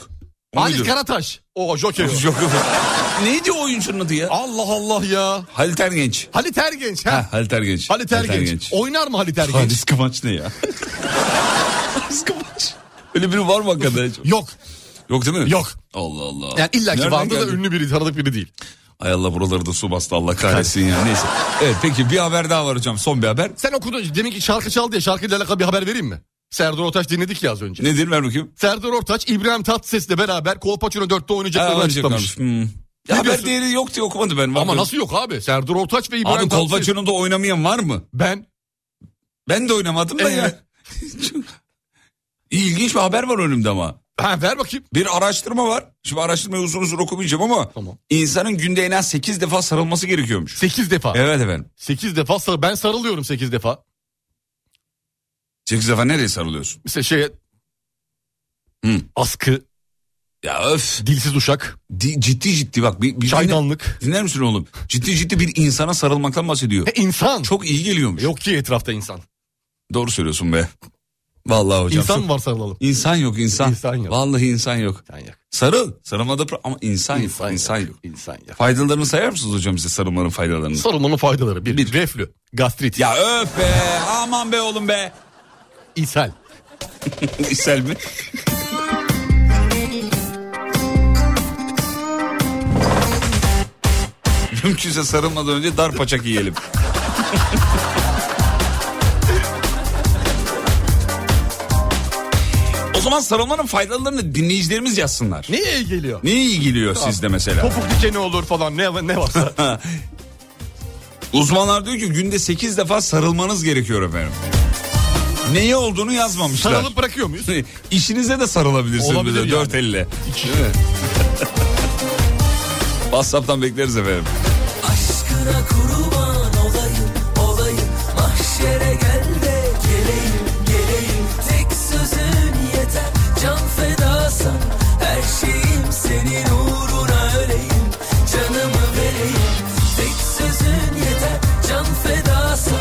Speaker 3: Halis
Speaker 2: Muydu?
Speaker 3: Karataş. O Joker. *laughs*
Speaker 2: Joker. Neydi o oyuncunun adı ya?
Speaker 3: Allah Allah ya.
Speaker 2: Halit Ergenç.
Speaker 3: Halit Ergenç. Ha.
Speaker 2: Ha, Halit Ergenç.
Speaker 3: Halit Ergenç. Oynar mı Halit Ergenç?
Speaker 2: Halis Kıvanç ne ya? Halis Kıvanç. Öyle biri var mı hakikaten?
Speaker 3: Yok.
Speaker 2: Yok değil mi?
Speaker 3: Yok.
Speaker 2: Allah Allah.
Speaker 3: Yani illa ki
Speaker 2: Nereden
Speaker 3: vardı da
Speaker 2: geldi?
Speaker 3: ünlü biri, tanıdık biri değil.
Speaker 2: Ay Allah buraları da su bastı Allah kahretsin ya. Neyse. Evet peki bir haber daha var hocam. Son bir haber.
Speaker 3: Sen okudun demin ki şarkı çaldı ya şarkıyla alakalı bir haber vereyim mi? Serdar Ortaç dinledik ya az önce.
Speaker 2: Nedir ver bakayım.
Speaker 3: Serdar Ortaç İbrahim Tatlıses'le beraber Kolpaçino 4'te
Speaker 2: Ha,
Speaker 3: oynayacaklarını açıklamış.
Speaker 2: alacaklarmış. Hmm. Ya haber
Speaker 3: diyorsun?
Speaker 2: değeri yok diye okumadı ben.
Speaker 3: Ama
Speaker 2: Vallahi-
Speaker 3: nasıl yok abi? Serdar Ortaç ve İbrahim
Speaker 2: Abi
Speaker 3: Tatlıses.
Speaker 2: Kolpaçino'da oynamayan var mı?
Speaker 3: Ben
Speaker 2: Ben de oynamadım da
Speaker 3: Ee?
Speaker 2: ya. Çok- *laughs* İlginç bir haber var önümde ama.
Speaker 3: Ha ver bakayım.
Speaker 2: Bir araştırma var. Şimdi araştırmayı uzun uzun okumayacağım ama
Speaker 3: Tamam.
Speaker 2: insanın günde en az 8 defa sarılması gerekiyormuş.
Speaker 3: 8 defa.
Speaker 2: Evet efendim.
Speaker 3: 8 defa sar ben sarılıyorum 8 defa.
Speaker 2: 8 defa nereye sarılıyorsun?
Speaker 3: Mesela şeye
Speaker 2: Hı.
Speaker 3: askı,
Speaker 2: Ya öf.
Speaker 3: dilsiz uşak,
Speaker 2: Di- ciddi ciddi bak. Bir, bir
Speaker 3: çaydanlık.
Speaker 2: Dinler, dinler misin oğlum? Ciddi ciddi bir insana sarılmaktan bahsediyor.
Speaker 3: He, E, insan.
Speaker 2: Çok iyi geliyormuş.
Speaker 3: Yok ki etrafta insan.
Speaker 2: Doğru söylüyorsun be. Vallahi hocam.
Speaker 3: insan
Speaker 2: çok-
Speaker 3: mı var sarılalım?
Speaker 2: İnsan yok insan.
Speaker 3: İnsan yok.
Speaker 2: Vallahi insan yok.
Speaker 3: İnsan yok.
Speaker 2: Sarıl. Sarılmada pro- ama insan, yok. İnsan yok. Faydalarını sayar mısınız hocam size sarılmanın faydalarını?
Speaker 3: Sarılmanın faydaları. Bir, reflü, gastrit,
Speaker 2: ya öf be aman be oğlum be.
Speaker 3: ishal.
Speaker 2: *laughs* İsel mi? *laughs* Mümkünse sarılmadan önce dar paçak yiyelim. *laughs* o zaman sarılmanın faydalarını dinleyicilerimiz yazsınlar.
Speaker 3: Neye iyi geliyor?
Speaker 2: Ne iyi geliyor sizde mesela?
Speaker 3: Topuk dikeni olur falan *laughs* ne, ne varsa.
Speaker 2: *laughs* Uzmanlar diyor ki günde 8 defa sarılmanız gerekiyor efendim. Neye olduğunu yazmamışlar.
Speaker 3: Sarılıp bırakıyor muyuz?
Speaker 2: *laughs* İşinize de sarılabilirsiniz.
Speaker 3: Olabilir
Speaker 2: bize,
Speaker 3: yani.
Speaker 2: Dört elle. Değil mi? *laughs* WhatsApp'tan bekleriz efendim.
Speaker 1: Aşkına kurban olayım olayım Mahşere gel de geleyim geleyim Tek sözün yeter can fedasan Her şeyim senin uğruna öleyim Canımı vereyim Tek sözün yeter can fedasan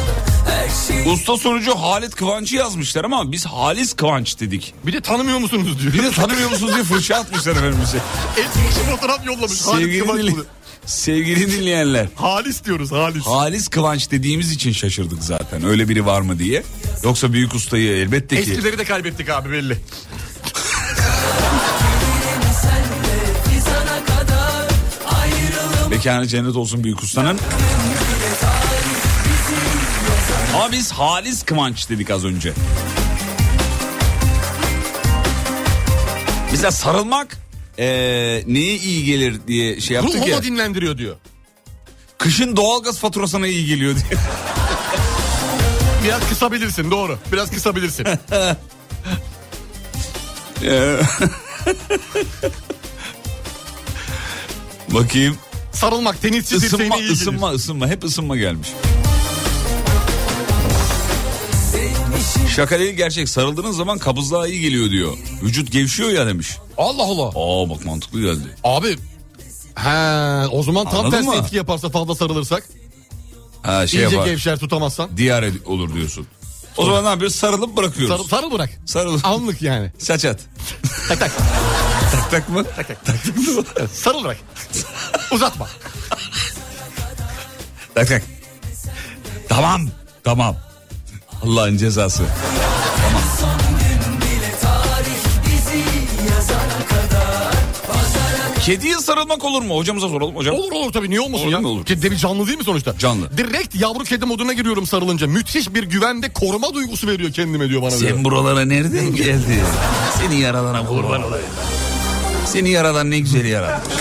Speaker 1: Her şeyim
Speaker 2: Usta sonucu Halit Kıvanç'ı yazmışlar ama biz Halis Kıvanç dedik.
Speaker 3: Bir de tanımıyor musunuz diyor.
Speaker 2: Bir de tanımıyor musunuz diye fırça atmışlar efendim bize.
Speaker 3: Etkisi fotoğraf yollamış. Halis,
Speaker 2: Sevgili,
Speaker 3: Kıvanç
Speaker 2: dinle-
Speaker 3: bunu.
Speaker 2: sevgili dinleyenler.
Speaker 3: Halis diyoruz Halis.
Speaker 2: Halis Kıvanç dediğimiz için şaşırdık zaten. Öyle biri var mı diye. Yoksa büyük ustayı elbette ki.
Speaker 3: Eskileri de kaybettik abi belli.
Speaker 1: senle fizana kadar Ayrılım
Speaker 2: Mekanı cennet olsun büyük ustanın. Ama biz Halis Kıvanç dedik az önce. Mesela sarılmak eee neye iyi gelir diye şey yaptık ya.
Speaker 3: Ruhumu dinlendiriyor diyor.
Speaker 2: Kışın doğalgaz faturasına iyi geliyor diye.
Speaker 3: Biraz kısabilirsin doğru. Biraz kısabilirsin.
Speaker 2: *laughs* Eee. Bakayım.
Speaker 3: Sarılmak tenisçi dirseğine
Speaker 2: Isınma,
Speaker 3: iyi gelir.
Speaker 2: ısınma, ısınma. Hep ısınma gelmiş. Şaka değil gerçek. Sarıldığınız zaman kabızlığa iyi geliyor diyor. Vücut gevşiyor ya demiş.
Speaker 3: Allah Allah.
Speaker 2: Aa bak mantıklı geldi.
Speaker 3: Abi. He, o zaman tam
Speaker 2: Anladın
Speaker 3: tersi
Speaker 2: mı?
Speaker 3: etki yaparsa fazla sarılırsak.
Speaker 2: Ha şey
Speaker 3: iyice
Speaker 2: yapar.
Speaker 3: gevşer tutamazsan.
Speaker 2: Diyar ed- olur diyorsun. O zaman ne yapıyoruz? Sarılıp
Speaker 3: Sarı,
Speaker 2: bırakıyoruz.
Speaker 3: sarıl bırak.
Speaker 2: Sarıl.
Speaker 3: Anlık yani.
Speaker 2: Saç at.
Speaker 3: Tak tak.
Speaker 2: Tak tak mı? Tak tak. Tak tak.
Speaker 3: Sarıl bırak. Uzatma.
Speaker 2: tak, tak. Tamam. Tamam. Allah'ın cezası.
Speaker 1: bizi yazana kadar
Speaker 2: Kediye sarılmak olur mu? Hocamıza soralım hocam.
Speaker 3: Olur olur tabii niye olmasın
Speaker 2: Olur
Speaker 3: ya.
Speaker 2: mu, olur.
Speaker 3: Kedi de bir canlı değil mi sonuçta?
Speaker 2: Canlı.
Speaker 3: Direkt yavru kedi moduna giriyorum sarılınca. Müthiş bir güvende koruma duygusu veriyor kendime diyor bana. diyor.
Speaker 2: Sen buralara nereden geldin? Seni yaralara kurban olayım. Seni yaradan ne güzel yaratmış.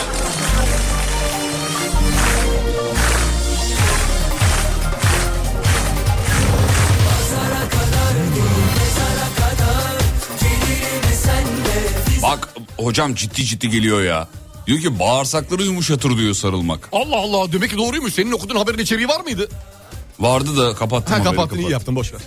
Speaker 2: Bak hocam ciddi ciddi geliyor ya. Diyor ki bağırsakları yumuşatır diyor sarılmak.
Speaker 3: Allah Allah demek ki doğruymuş. Senin okuduğun haberin içeriği var mıydı?
Speaker 2: Vardı da kapattım.
Speaker 3: Ha
Speaker 2: haberi,
Speaker 3: kapattın iyi yaptın boş ver.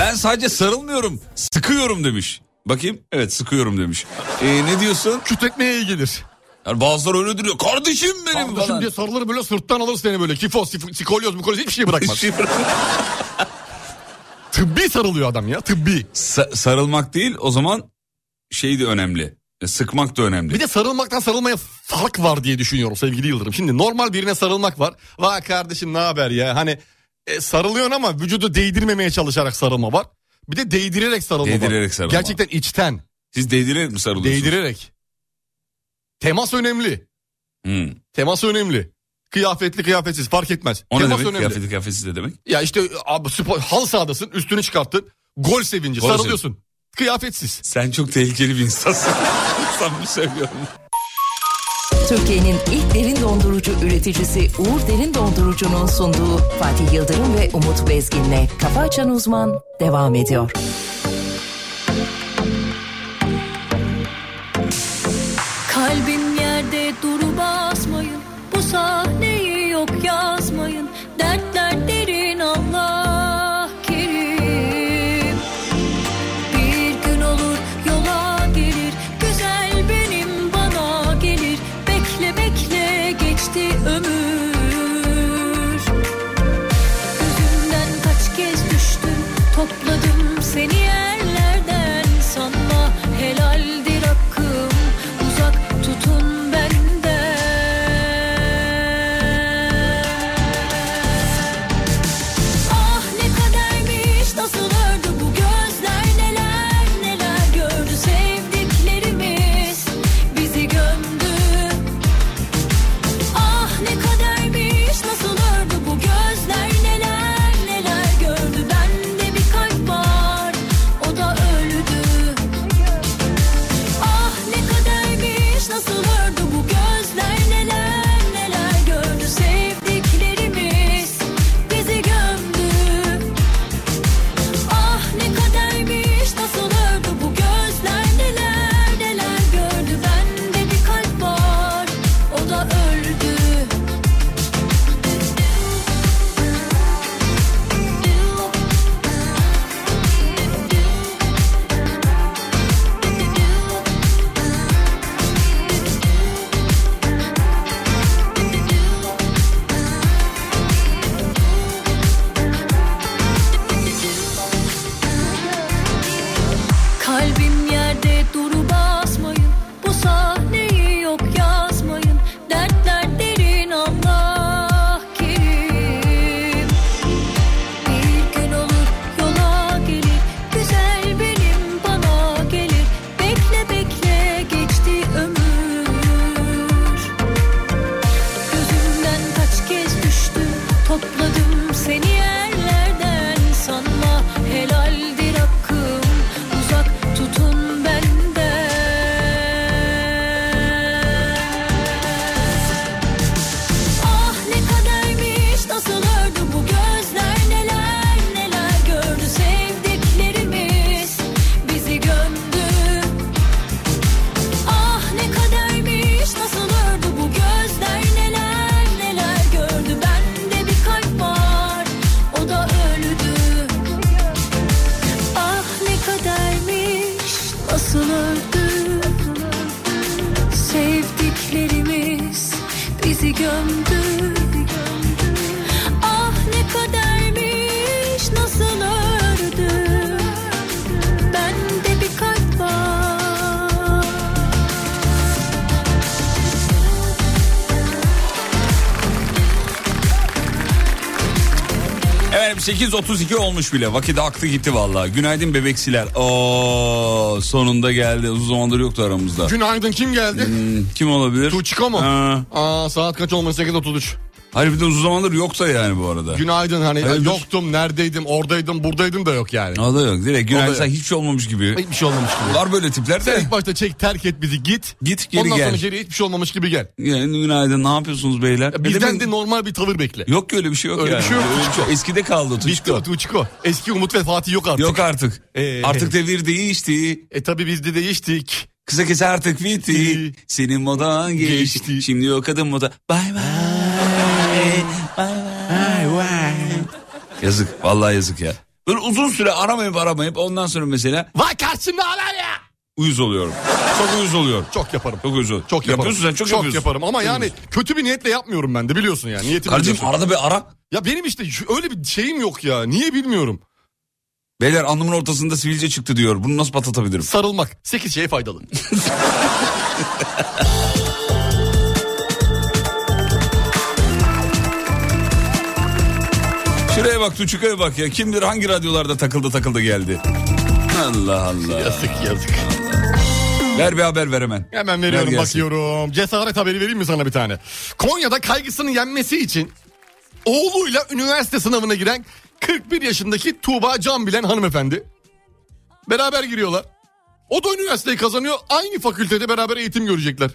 Speaker 2: Ben sadece sarılmıyorum, sıkıyorum demiş. Bakayım. Evet sıkıyorum demiş. Ee, ne diyorsun?
Speaker 3: Kütletmeye iyi gelir.
Speaker 2: Yani bazıları öyle duruyor. Kardeşim benim
Speaker 3: Kardeşim
Speaker 2: falan. şey
Speaker 3: diye sarılır böyle sırttan alır seni böyle. Kifos, sif- sikolyoz, mikolyoz hiçbir şey bırakmaz.
Speaker 2: Hiçbir-
Speaker 3: Tıbbi sarılıyor adam ya tıbbi.
Speaker 2: Sa- sarılmak değil o zaman şey de önemli. E, Sıkmak da önemli.
Speaker 3: Bir de sarılmaktan sarılmaya fark var diye düşünüyorum sevgili Yıldırım. Şimdi normal birine sarılmak var. Vay kardeşim ne haber ya hani e, sarılıyorsun ama vücudu değdirmemeye çalışarak sarılma var. Bir de değdirerek sarılma var.
Speaker 2: Değdirerek sarılma.
Speaker 3: Gerçekten içten
Speaker 2: Siz değdirerek mi sarılıyorsunuz?
Speaker 3: değdirerek. Temas önemli.
Speaker 2: Hmm.
Speaker 3: Temas önemli. Kıyafetli kıyafetsiz fark etmez.
Speaker 2: O ne
Speaker 3: Temas
Speaker 2: demek?
Speaker 3: önemli.
Speaker 2: Kıyafeti kıyafetsiz ne demek?
Speaker 3: Ya işte abi spor, halı sahadasın üstünü çıkarttın. Gol sevinci
Speaker 2: Gol
Speaker 3: sarılıyorsun. Kıyafetsiz.
Speaker 2: Sen çok tehlikeli bir insansın. *laughs* Samimi söylüyorum.
Speaker 7: Türkiye'nin ilk derin dondurucu üreticisi Uğur Derin Dondurucu'nun sunduğu Fatih Yıldırım ve Umut Bezgin'le Kafa Açan Uzman devam ediyor.
Speaker 12: Kalbim yerde duru basmayın Bu sahneyi yok yazmayın Dertler derin Allah kerim Bir gün olur yola gelir Güzel benim bana gelir Bekle bekle geçti ömür Gözümden kaç kez düştüm Topladım seni yerlerden Sanma helaldir hakkım Uzak tutun benden Ah ne kadermiş nasıl ördü bu gözler neler neler gördü sevdiklerimiz bizi gömdü Ah ne kadermiş nasıl ördü bu gözler neler neler gördü bende bir kalp var o da öldü Ah ne kadermiş nasıl ördü bu gözler neler neler gördü sevdiklerimiz bizi gömdü Ah ne kadermiş nasıl ördü bu gözler neler neler gördü bende bir kalp var o da öldü Kalbim yerde duru basmayın Bu sahneyi yok yazmayın Dertler derin Allah kerim Bir gün olur yola gelir Güzel benim bana gelir Bekle bekle geçti ömür Gözümden kaç kez düştüm Topladım seni yerlerden Sanma helaldir hakkım Uzak tutun benden Ah ne kadermiş nasıl ördü bu gözler neler neler gördü sevdiklerimiz bizi gömdü Ah ne kadermiş nasıl ördü bu gözler neler neler gördü bende bir kalp var o da öldü Ah ne kadermiş nasıl öldü sevdiklerimiz bizi gömdü Ah ne kadermiş nasıl ördü bende bir kalp var
Speaker 2: Efendim 8.32 olmuş bile. Vakit aktı gitti vallahi. Günaydın bebeksiler. Oo, sonunda geldi. Uzun zamandır yoktu aramızda.
Speaker 3: Günaydın kim geldi?
Speaker 2: Hmm, Kim olabilir?
Speaker 3: Tuğçika mı?
Speaker 2: Ha.
Speaker 3: Aa, saat kaç olmalı 8.33.
Speaker 2: Hayır bir de uzun zamandır yoksa yani bu arada.
Speaker 3: Günaydın hani
Speaker 2: Hayırdır?
Speaker 3: yoktum neredeydim oradaydım buradaydım da yok yani.
Speaker 2: o da yok. Direkt
Speaker 3: O
Speaker 2: günaydın
Speaker 3: da
Speaker 2: sen hiç şey olmamış gibi.
Speaker 3: Hiçbir şey olmamış gibi.
Speaker 2: Var böyle tipler de.
Speaker 3: İlk başta çek terk et bizi git.
Speaker 2: Git geri
Speaker 3: Ondan
Speaker 2: gel.
Speaker 3: sonra geri hiçbir şey olmamış gibi gel.
Speaker 2: Yani günaydın ne yapıyorsunuz beyler?
Speaker 3: Ya
Speaker 2: Ne
Speaker 3: Bizden
Speaker 2: demek-
Speaker 3: de normal bir tavır bekle.
Speaker 2: Yok ki öyle bir şey yok
Speaker 3: Öyle bir
Speaker 2: yani.
Speaker 3: şey yok.
Speaker 2: Öyle bir şey Eskide kaldı
Speaker 3: Bitti
Speaker 2: Tuçko.
Speaker 3: o Tuğçiko. Eski Umut ve Fatih yok artık.
Speaker 2: Yok artık.
Speaker 3: Ee,
Speaker 2: artık devir değişti.
Speaker 3: E tabi biz de değiştik.
Speaker 2: Kısa kese artık bitti.
Speaker 3: Bitti.
Speaker 2: Senin modan geçti.
Speaker 3: Geçti.
Speaker 2: Şimdi o kadın moda. Bay bay. Bay bay. Yazık. Vallahi yazık ya. Böyle uzun süre aramayıp aramayıp ondan sonra mesela
Speaker 3: Vay karşımda haber ya.
Speaker 2: uyuz oluyorum. Çok uyuz oluyorum.
Speaker 3: Çok yaparım.
Speaker 2: Çok uyuz oluyorum.
Speaker 3: Çok yaparım.
Speaker 2: Yapıyorsun sen çok, yapıyorsun.
Speaker 3: yaparım ama yani kötü bir niyetle yapmıyorum ben de biliyorsun yani. Niyetim
Speaker 2: Kardeşim arada bir ara.
Speaker 3: Ya benim işte şu- öyle bir şeyim yok ya. Niye bilmiyorum.
Speaker 2: Beyler anlamın ortasında sivilce çıktı diyor. Bunu nasıl patlatabilirim?
Speaker 3: Sarılmak. 8 şeye faydalı. *laughs*
Speaker 2: Şuraya bak Tuçuka'ya bak ya. Kim bilir hangi radyolarda takıldı takıldı geldi. Allah Allah. Yazık
Speaker 3: yazık.
Speaker 2: Ver bir haber ver hemen.
Speaker 3: Hemen veriyorum
Speaker 2: Ver gelsin.
Speaker 3: bakıyorum. Cesaret haberi vereyim mi sana bir tane? Konya'da kaygısını yenmesi için oğluyla üniversite sınavına giren 41 yaşındaki Tuğba Can bilen hanımefendi. Beraber giriyorlar. O da üniversiteyi kazanıyor. Aynı fakültede beraber eğitim görecekler.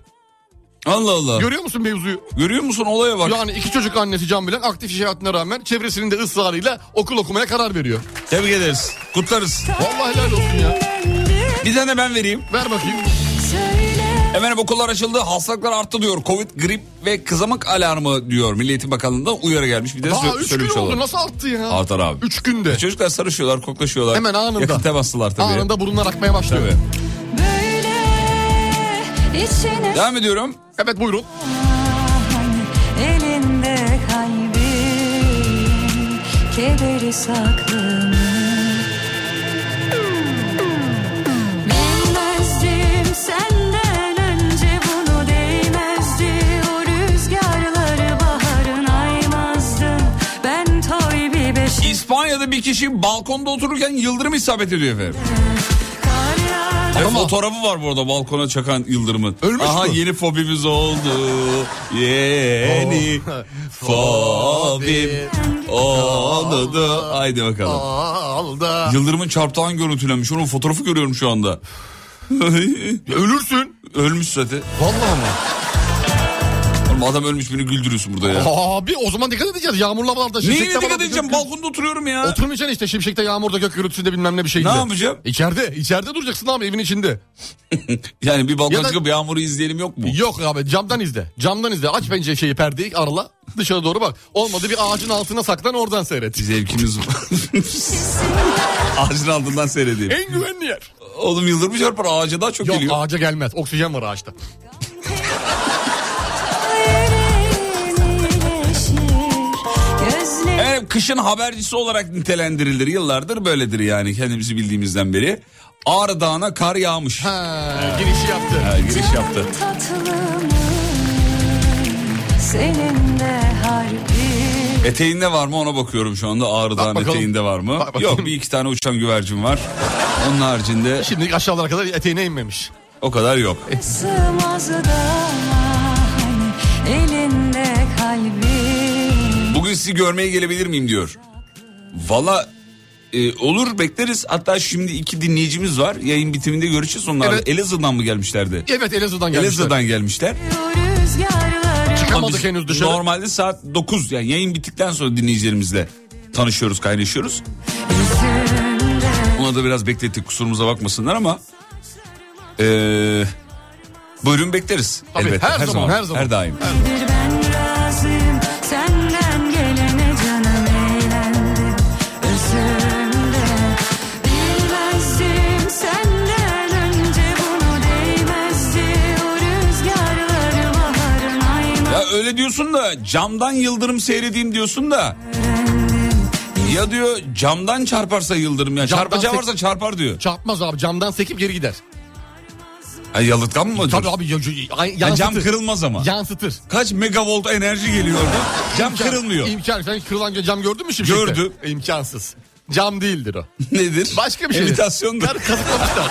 Speaker 2: Allah Allah.
Speaker 3: Görüyor musun mevzuyu?
Speaker 2: Görüyor musun olaya bak.
Speaker 3: Yani iki çocuk annesi Can Bilen aktif iş hayatına rağmen çevresinin de ısrarıyla okul okumaya karar veriyor.
Speaker 2: Tebrik ederiz. Kutlarız.
Speaker 3: Vallahi helal olsun ya.
Speaker 2: Bir tane ben vereyim.
Speaker 3: Ver bakayım.
Speaker 2: Hemen okullar açıldı. Hastalıklar arttı diyor. Covid, grip ve kızamık alarmı diyor. Milli Eğitim Bakanlığı'ndan uyarı gelmiş. Bir de
Speaker 3: Daha
Speaker 2: sö-
Speaker 3: üç gün
Speaker 2: söylemiş
Speaker 3: oldu
Speaker 2: olalım.
Speaker 3: nasıl arttı ya?
Speaker 2: Artar abi. E,
Speaker 3: Üç günde.
Speaker 2: Çocuklar sarışıyorlar, koklaşıyorlar.
Speaker 3: Hemen anında.
Speaker 2: Yakın temaslılar tabii.
Speaker 3: Anında burunlar akmaya başlıyor.
Speaker 2: Tabii.
Speaker 12: Böyle içine
Speaker 2: Devam ediyorum.
Speaker 3: Evet buyurun.
Speaker 12: Hani elinde kalbim Kederi saklı Bilmezdim senden önce bunu değmezdi O rüzgarları baharın aymazdı Ben toy bir beşik
Speaker 2: İspanya'da bir kişi balkonda otururken yıldırım isabet ediyor efendim. Ve fotoğrafı var bu arada balkona çakan yıldırımın.
Speaker 3: Ölmüş
Speaker 2: Aha
Speaker 3: mü?
Speaker 2: yeni fobimiz oldu. Yeni
Speaker 3: Oh,
Speaker 2: Oh. fobim oldu. da- Haydi bakalım.
Speaker 3: Aldı.
Speaker 2: Yıldırımın çarptığını görüntülenmiş. Onun fotoğrafı görüyorum şu anda.
Speaker 3: *laughs* Ölürsün.
Speaker 2: ölmüş zaten.
Speaker 3: Vallahi mı?
Speaker 2: Oğlum adam ölmüş beni güldürüyorsun burada ya.
Speaker 3: Abi o zaman dikkat edeceğiz. Yağmurlu havalarda
Speaker 2: Neyine
Speaker 3: şimşekte
Speaker 2: dikkat
Speaker 3: havalarda
Speaker 2: edeceğim?
Speaker 3: gök-
Speaker 2: Balkonda oturuyorum ya.
Speaker 3: Oturmayacaksın işte şimşekte yağmurda gök gürültüsünde bilmem ne bir şeyinde.
Speaker 2: Ne yapacağım?
Speaker 3: İçeride. içeride duracaksın abi evin içinde.
Speaker 2: *laughs* yani bir balkona
Speaker 3: Ya da-
Speaker 2: çıkıp yağmuru izleyelim yok mu?
Speaker 3: Yok abi camdan izle. Camdan izle. Aç pencere şeyi perdeyi arala. Dışarı doğru bak. Olmadı bir ağacın altına saklan oradan seyret.
Speaker 2: Zevkimiz var. Ağacın altından seyredeyim.
Speaker 3: En güvenli yer.
Speaker 2: Oğlum yıldırım çarpar ağaca daha çok
Speaker 3: Yok
Speaker 2: geliyor.
Speaker 3: ağaca gelmez. Oksijen var ağaçta.
Speaker 12: Gözlerim
Speaker 2: Efendim E, kışın habercisi olarak nitelendirilir. Yıllardır böyledir yani kendimizi bildiğimizden beri. Ağrı Dağı'na kar yağmış.
Speaker 3: Ha, girişi yaptı.
Speaker 2: Ha, giriş yaptı.
Speaker 12: tatlı mı? Senin de harbi
Speaker 2: Eteğinde var mı ona bakıyorum şu anda. Ağrı Dağı'nın
Speaker 3: bakalım.
Speaker 2: eteğinde var mı?
Speaker 3: Bak bakayım.
Speaker 2: Yok bir iki tane uçan güvercin var. Onun haricinde
Speaker 3: Şimdi aşağılara kadar eteğine inmemiş. E,
Speaker 2: o kadar yok.
Speaker 12: sığmaz da hani elinde kalbim
Speaker 2: Bugün sizi görmeye gelebilir miyim diyor. Valla e, olur bekleriz. Hatta şimdi iki dinleyicimiz var. Yayın bitiminde görüşeceğiz onlarla.
Speaker 3: Evet.
Speaker 2: Elazığ'dan mı gelmişlerdi?
Speaker 3: Evet Elazığ'dan gelmişler.
Speaker 2: Elazığ'dan gelmişler.
Speaker 12: rüzgarları
Speaker 3: Çıkamadık
Speaker 2: Ama biz
Speaker 3: henüz dışarı.
Speaker 2: Normalde saat 9 yani yayın bittikten sonra dinleyicilerimizle tanışıyoruz, kaynaşıyoruz. Buna da biraz beklettik kusurumuza bakmasınlar ama e, buyurun bekleriz.
Speaker 3: Tabii,
Speaker 2: elbette.
Speaker 3: her zaman, her zaman.
Speaker 2: Her daim.
Speaker 12: Bir ben razıyım senden gelene canım eğlendim özümde Bilmezdim senden önce bunu değmezdi o rüzgarları baharın ayna
Speaker 2: Ya öyle diyorsun da camdan yıldırım seyredeyim diyorsun da. Ya diyor camdan çarparsa yıldırım ya.
Speaker 3: Camdan
Speaker 2: Çarpacağı
Speaker 3: sek-
Speaker 2: varsa çarpar diyor.
Speaker 3: Çarpmaz abi camdan sekip geri gider.
Speaker 2: Ha, yalıtkan mı acaba?
Speaker 3: Tabii abi ya- ya- ya-
Speaker 2: Ya E, cam
Speaker 3: yansıtır.
Speaker 2: kırılmaz ama.
Speaker 3: Yansıtır.
Speaker 2: Kaç megavolt enerji geliyor orada? Cam
Speaker 3: İmkan-
Speaker 2: kırılmıyor.
Speaker 3: İmkan. Sen hiç kırılan cam gördün mü şimdi?
Speaker 2: Gördüm.
Speaker 3: İmkansız. Cam değildir o.
Speaker 2: *laughs* Nedir?
Speaker 3: Başka bir şey.
Speaker 2: Emitasyondur.
Speaker 3: Kar
Speaker 2: *laughs*
Speaker 3: kazıklamışlar.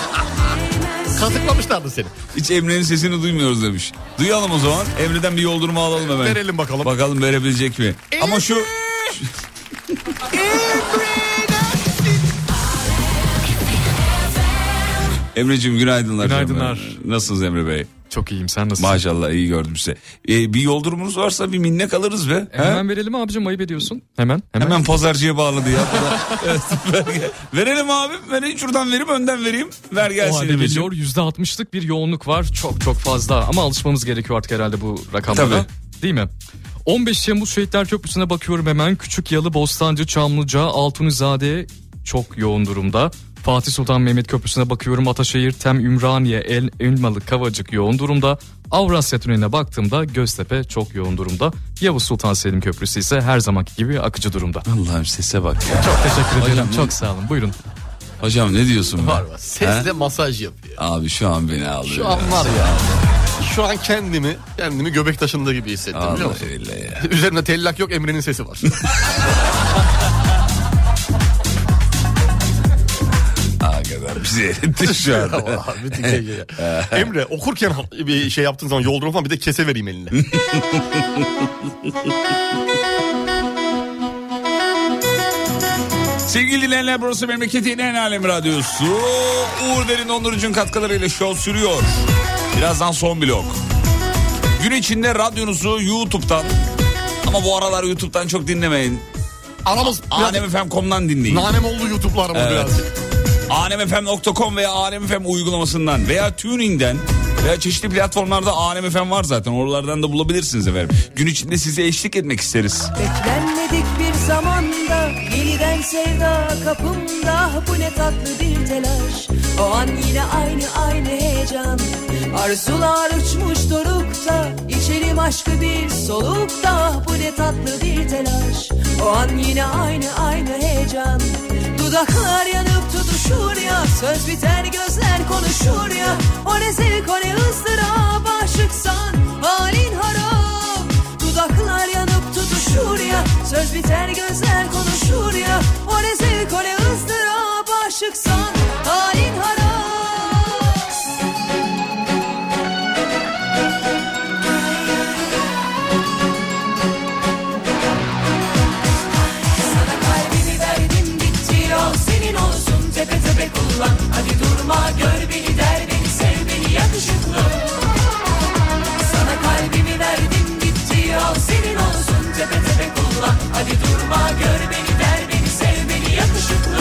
Speaker 3: Kazıklamışlardı seni.
Speaker 2: Hiç Emre'nin sesini duymuyoruz demiş. Duyalım o zaman. Emre'den bir yoldurma alalım hemen.
Speaker 3: Verelim bakalım.
Speaker 2: Bakalım verebilecek mi? Ama şu... Emre'cim günaydınlar.
Speaker 13: Günaydınlar.
Speaker 2: canım. Nasılsınız Emre Bey?
Speaker 13: Çok iyiyim sen nasılsın?
Speaker 2: Maşallah iyi gördüm size. Ee, bir yoldurumunuz varsa bir minnek alırız be. He?
Speaker 13: E, Hemen verelim abicim ayıp ediyorsun. Hemen. Hemen.
Speaker 2: Hemen pazarcıya
Speaker 13: *laughs*
Speaker 2: bağladı ya. Evet, ver- verelim abim. Verelim şuradan vereyim önden vereyim. Ver
Speaker 13: O
Speaker 2: gelsin
Speaker 13: halde
Speaker 2: Emre'cim.
Speaker 13: geliyor %60'lık bir yoğunluk var. Çok çok fazla ama alışmamız gerekiyor artık herhalde bu rakamlara.
Speaker 2: Tabii.
Speaker 13: Değil mi? 15 Temmuz Şehitler Köprüsü'ne bakıyorum hemen. Küçük Yalı, Bostancı, Çamlıca, Altunizade çok yoğun durumda. Fatih Sultan Mehmet Köprüsü'ne bakıyorum. Ataşehir, Tem, Ümraniye, El, Elmalı, Kavacık yoğun durumda. Avrasya Tüneli'ne baktığımda Göztepe çok yoğun durumda. Yavuz Sultan Selim Köprüsü ise her zamanki gibi akıcı durumda.
Speaker 2: Allah'ım sese bak ya.
Speaker 13: Çok teşekkür ederim.
Speaker 2: Hocam,
Speaker 13: Çok sağ olun. Buyurun.
Speaker 2: Hocam ne diyorsun? be?
Speaker 3: Var var. Sesle
Speaker 2: He? şey.
Speaker 3: masaj yapıyor.
Speaker 2: Abi şu an beni aldı.
Speaker 3: Şu an var ya. Şu an kendimi kendimi göbek taşında gibi hissettim
Speaker 2: Vallahi
Speaker 3: biliyor musun? *laughs*
Speaker 2: billahi ya.
Speaker 3: Üzerimde tellak yok Emre'nin sesi
Speaker 2: *laughs*
Speaker 3: var.
Speaker 2: Hakikaten bizi erittin şu anda.
Speaker 3: *laughs* Vallahi bir tek şey ya.
Speaker 14: Emre okurken ha- bir şey yaptığın zaman yoldurum falan bir de kese vereyim
Speaker 2: *laughs*
Speaker 14: eline.
Speaker 2: *laughs* Sevgili dinleyenler burası memleketin en alem radyosu. Uğur Derin Dondurucu'nun katkılarıyla şov sürüyor. Birazdan son blok. Gün içinde radyonuzu YouTube'dan ama bu aralar YouTube'dan çok dinlemeyin.
Speaker 14: Aramız biraz
Speaker 2: Anemfm.com'dan dinleyin.
Speaker 14: nanem oldu YouTube'larımız
Speaker 2: Evet.
Speaker 14: birazcık.
Speaker 2: alemfm.com veya alemfm uygulamasından veya tuning'den veya çeşitli platformlarda alemfm var zaten. Oralardan da bulabilirsiniz efendim. Gün içinde size eşlik etmek isteriz.
Speaker 15: Beklenmedik bir zamanda yeniden sevda kapımda bu ne tatlı bir telaş o an yine aynı aynı heyecan arzular uçmuş dorukta içerim aşkı bir solukta bu ne tatlı bir telaş o an yine aynı aynı heyecan dudaklar yanıp tutuşur ya söz biter gözler konuşur ya o ne zevk o ne ızdırap aşıksan halin harap Dudaklar yanıp tutuşur ya Söz biter gözler konuşur ya O ne zevk o ne ızdırap Aşıksan halin harap Sana kalbimi verdim gitti o Senin olsun tepe tepe kullan Hadi durma gör beni der beni Sev beni yakışıklı sana kalbimi verdim gitti al senin olsun tepe tepe kullan Hadi durma gör beni der beni sev beni yakışıklı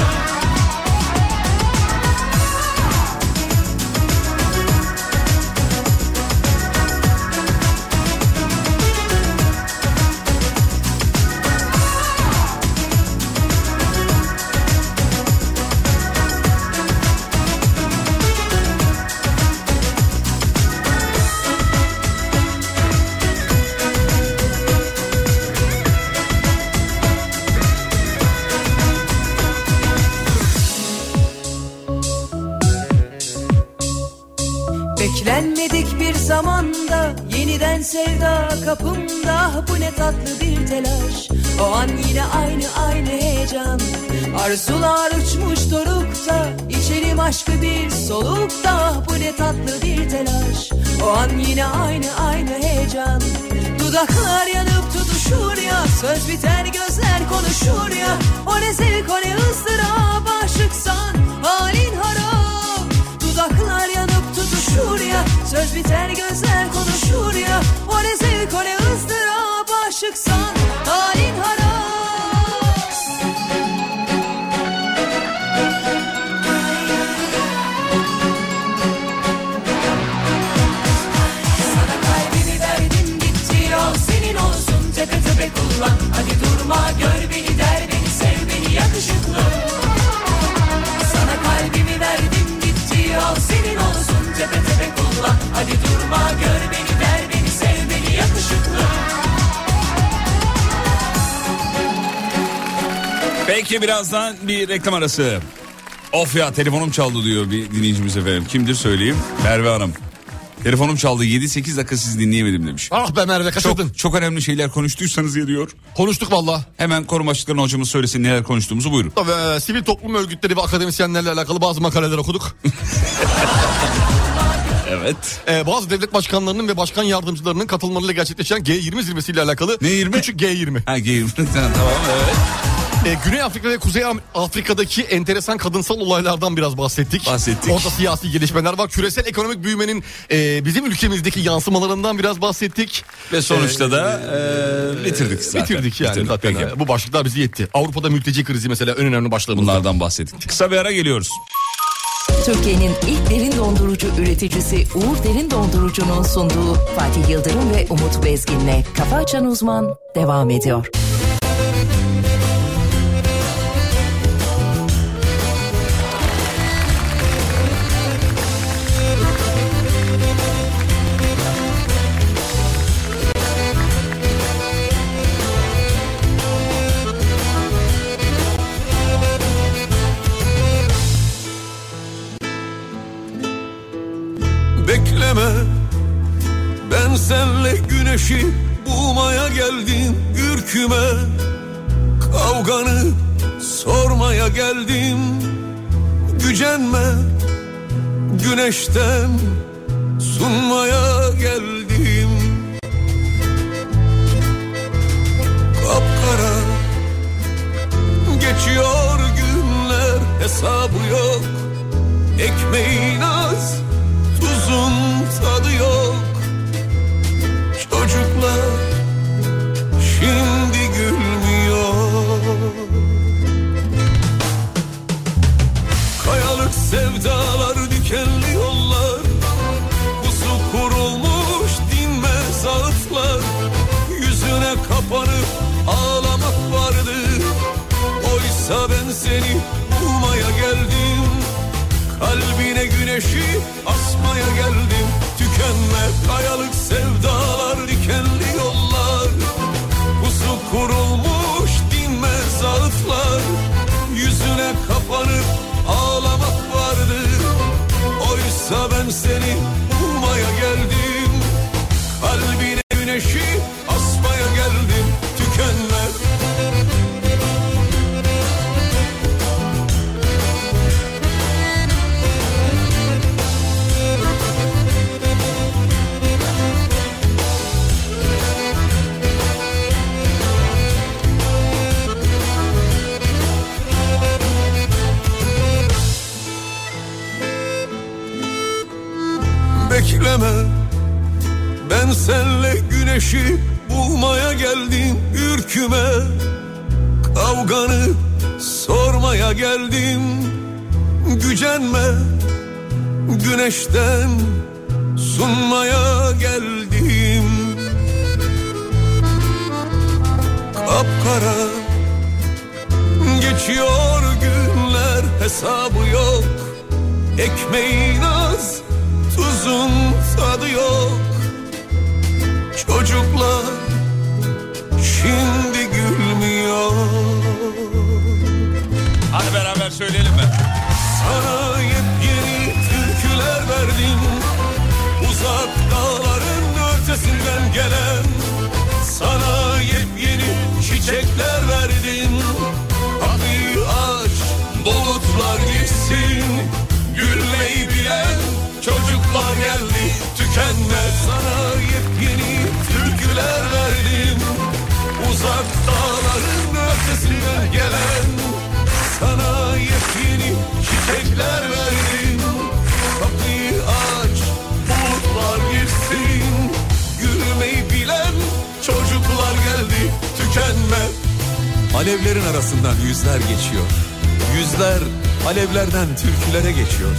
Speaker 15: Beklenmedik bir zamanda yeniden sevda kapımda bu ne tatlı bir telaş o an yine aynı aynı heyecan arzular uçmuş dorukta içerim aşkı bir solukta bu ne tatlı bir telaş o an yine aynı aynı heyecan dudaklar yanıp tutuşur ya söz biter gözler konuşur ya o ne zevk o ne ızdırap aşıksan halin harap Dudaklar yanıp tutuşur ya Söz biter gözler konuşur ya O ne zevk o ne ızdırap Aşıksan halin harap Sana kalbimi verdim gitti al Senin olsun tepe tepe kullan Hadi durma gör beni der beni Sev beni yakışıklı sana kalbimi verdim gitti al senin olsun tepe tepe kullan Hadi durma gör beni ver beni sev beni yakışıklı
Speaker 2: Belki birazdan bir reklam arası. Of ya telefonum çaldı diyor bir dinleyicimiz efendim. Kimdir söyleyeyim? Merve Hanım. Telefonum çaldı 7-8 dakika sizi dinleyemedim demiş.
Speaker 3: Ah be Merve kaçırdın.
Speaker 2: Çok, çok önemli şeyler konuştuysanız ya diyor.
Speaker 3: Konuştuk valla.
Speaker 2: Hemen koruma başkanı hocamız söylesin neler konuştuğumuzu buyurun.
Speaker 3: Ve Ee, sivil toplum örgütleri ve akademisyenlerle alakalı bazı makaleler okuduk.
Speaker 2: *laughs* Evet.
Speaker 3: Ee, bazı devlet başkanlarının ve başkan yardımcılarının katılmalarıyla gerçekleşen G20 zirvesiyle alakalı
Speaker 2: Ne 20?
Speaker 3: küçük G20.
Speaker 2: Ha geyim. *laughs* tamam evet.
Speaker 3: Ee, Güney Afrika ve Kuzey Am- Afrika'daki enteresan kadınsal olaylardan biraz bahsettik.
Speaker 2: Bahsettik.
Speaker 3: Orada siyasi gelişmeler var. Küresel ekonomik büyümenin e, bizim ülkemizdeki yansımalarından biraz bahsettik. Ee,
Speaker 2: Ve sonuçta da e, bitirdik zaten.
Speaker 3: Bitirdik yani. zaten.
Speaker 2: Peki.
Speaker 3: Ee, Bu başlıklar bizi yetti. Avrupa'da mülteci krizi mesela en önemli başlığımızdan.
Speaker 2: Bunlardan bahsettik. Kısa bir ara geliyoruz.
Speaker 7: Türkiye'nin ilk derin dondurucu üreticisi Uğur Derin Dondurucu'nun sunduğu Fatih Yıldırım ve Umut Bezgin'le Kafa Açan Uzman devam ediyor.
Speaker 6: bekleme Ben senle güneşi bulmaya geldim ürküme Kavganı sormaya geldim Gücenme güneşten sunmaya geldim Kapkara geçiyor günler hesabı yok Ekmeğin az tuzun tadı yok Çocuklar şimdi gülmüyor Kayalık sevdalar dikenli yollar Pusu kurulmuş dinmez ağıtlar Yüzüne kapanıp ağlamak vardı Oysa ben seni bulmaya geldim Kalbine güneşi asmaya geldim Tükenme kayalık sevdalar dikenli yollar Pusu kurulmuş dinmez ağıtlar Yüzüne kapanıp ağlamak vardı Oysa ben seni bulmaya geldim Kalbine güneşi asmaya geldim Tükenme bekleme Ben senle güneşi bulmaya geldim ürküme Kavganı sormaya geldim Gücenme güneşten sunmaya geldim Kapkara geçiyor günler hesabı yok Ekmeğin az tuzun tadı yok Çocuklar şimdi gülmüyor
Speaker 2: Hadi beraber söyleyelim mi?
Speaker 6: Sana yepyeni türküler verdim Uzak dağların ötesinden gelen Sana yepyeni çiçekler verdim Adı aşk bulutlar gitsin Gülmeyi bilen çocuklar geldi Tükenmez sana yepyeni türküler verdim Uzak dağların ötesinden gelen Sana yepyeni çiçekler verdim Kapıyı aç bulutlar girsin Gülmeyi bilen çocuklar geldi Tükenmez Alevlerin arasından yüzler geçiyor. Yüzler alevlerden türkülere geçiyor.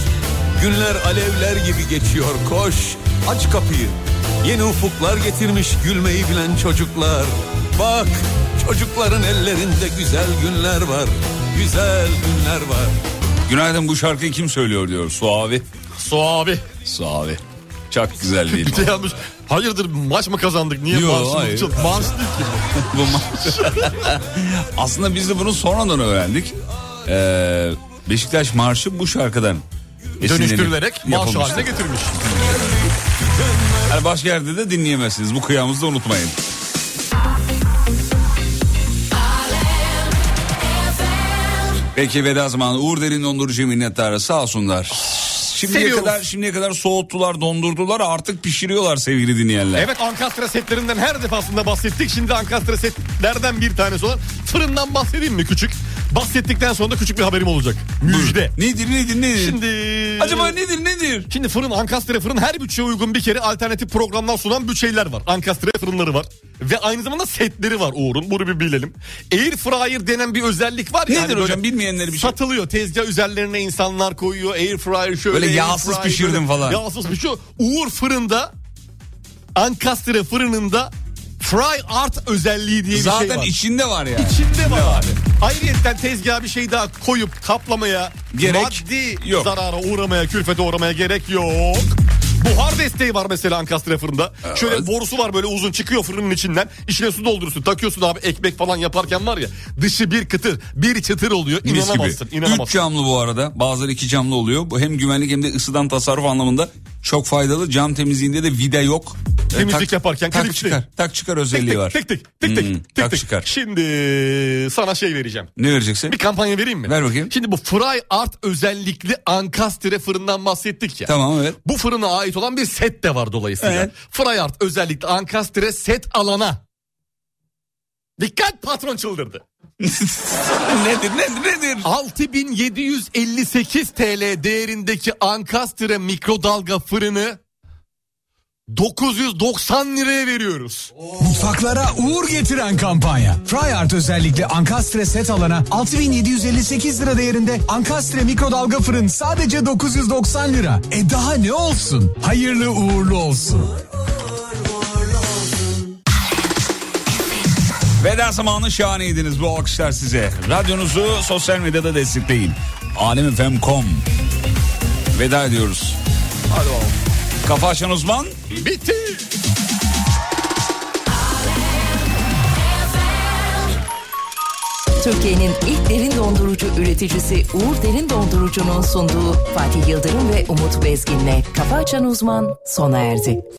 Speaker 6: Günler alevler gibi geçiyor. Koş, aç kapıyı. Yeni ufuklar getirmiş gülmeyi bilen çocuklar. Bak, çocukların ellerinde güzel günler var. Güzel günler var.
Speaker 2: Günaydın bu şarkıyı kim söylüyor diyor. Suavi.
Speaker 3: Suavi.
Speaker 2: Suavi. Çok güzel değil mi?
Speaker 3: *laughs* Bir de yanlış. Hayırdır maç mı kazandık? Niye
Speaker 2: Yo,
Speaker 3: Mansur
Speaker 2: hayır.
Speaker 3: Yılmaz- Mansur değil ki bu.
Speaker 2: *laughs* Bu ma- *laughs* Aslında biz de bunu sonradan öğrendik. Ee, Beşiktaş Marşı bu şarkıdan esinlenip
Speaker 3: Dönüştürülerek marş
Speaker 2: yapılmıştı.
Speaker 3: haline getirmiş.
Speaker 2: Yani Hani başka yerde de dinleyemezsiniz. Bu kıyamızı da unutmayın. Peki veda zamanı Uğur Derin Dondurucu minnettarı sağ olsunlar. Şimdiye
Speaker 3: Seviyoruz.
Speaker 2: kadar şimdiye kadar soğuttular, dondurdular, artık pişiriyorlar sevgili dinleyenler.
Speaker 3: Evet Ankastra setlerinden her defasında bahsettik. Şimdi Ankastra setlerden bir tanesi olan fırından bahsedeyim mi küçük? Bahsettikten sonra da küçük bir haberim olacak. Müjde.
Speaker 2: Nedir nedir nedir?
Speaker 3: Şimdi...
Speaker 2: Acaba nedir nedir?
Speaker 3: Şimdi fırın Ankastre fırın her bütçeye uygun bir kere alternatif programlar sunan bütçeler var. Ankastre fırınları var. Ve aynı zamanda setleri var Uğur'un. Bunu bir bilelim. Air fryer denen bir özellik var ya.
Speaker 2: Nedir
Speaker 3: hani böyle
Speaker 2: hocam bilmeyenler bir şey.
Speaker 3: Satılıyor tezgah üzerlerine insanlar koyuyor. Air fryer şöyle.
Speaker 2: Böyle
Speaker 3: air
Speaker 2: yağsız
Speaker 3: fryer
Speaker 2: pişirdim
Speaker 3: böyle.
Speaker 2: falan.
Speaker 3: Yağsız pişiyor. Uğur fırında Ankastre fırınında fry art özelliği diye bir
Speaker 2: Zaten
Speaker 3: şey var.
Speaker 2: içinde var yani.
Speaker 3: İçinde var abi. Ayrıyeten tezgaha bir şey daha koyup kaplamaya
Speaker 2: Gerek
Speaker 3: maddi
Speaker 2: yok.
Speaker 3: zarara uğramaya, külfete uğramaya gerek yok. Buhar desteği var mesela Ankastre fırında. Şöyle borusu var böyle uzun çıkıyor fırının içinden. İçine su dolduruyorsun. Takıyorsun abi ekmek falan yaparken var ya. Dışı bir kıtır, bir çıtır oluyor.
Speaker 2: Mis gibi.
Speaker 3: İnanamazsın.
Speaker 2: Üç
Speaker 3: inanamazsın.
Speaker 2: camlı bu arada. Bazıları iki camlı oluyor. Bu hem güvenlik hem de ısıdan tasarruf anlamında Çok faydalı. Cam temizliğinde de vida yok. E,
Speaker 3: Temizlik
Speaker 2: tak-
Speaker 3: yaparken
Speaker 2: tak
Speaker 3: klipsli.
Speaker 2: çıkar. Tak çıkar özelliği var.
Speaker 3: Tek tek tek tek
Speaker 2: Hmm,
Speaker 3: tek
Speaker 2: tak
Speaker 3: tek.
Speaker 2: çıkar.
Speaker 3: Şimdi sana şey vereceğim.
Speaker 2: Ne vereceksin?
Speaker 3: Bir kampanya vereyim mi?
Speaker 2: Ver bakayım.
Speaker 3: Şimdi bu fry art özellikli ankastre fırından bahsettik ya.
Speaker 2: Tamam, evet.
Speaker 3: Bu fırına ait olan bir set de var dolayısıyla.
Speaker 2: Evet.
Speaker 3: Fry art özellikli ankastre set alana. Dikkat
Speaker 16: *laughs*
Speaker 3: patron çıldırdı.
Speaker 2: nedir nedir nedir?
Speaker 3: 6758 TL değerindeki ankastre mikrodalga fırını 990 liraya veriyoruz.
Speaker 16: Mutfaklara uğur getiren kampanya. Fryart özellikle Ankastre set alana 6758 lira değerinde Ankastre mikrodalga fırın sadece 990 lira. E daha ne olsun? Hayırlı uğurlu olsun.
Speaker 2: Veda zamanı şahaneydiniz bu alkışlar size. Radyonuzu sosyal medyada destekleyin. Alemfm.com Veda ediyoruz. Hadi bakalım. Kafa açan uzman.
Speaker 3: Bitti.
Speaker 7: Türkiye'nin ilk derin dondurucu üreticisi Uğur Derin Dondurucu'nun sunduğu Fatih Yıldırım ve Umut Bezgin'le Kafa Açan Uzman sona erdi.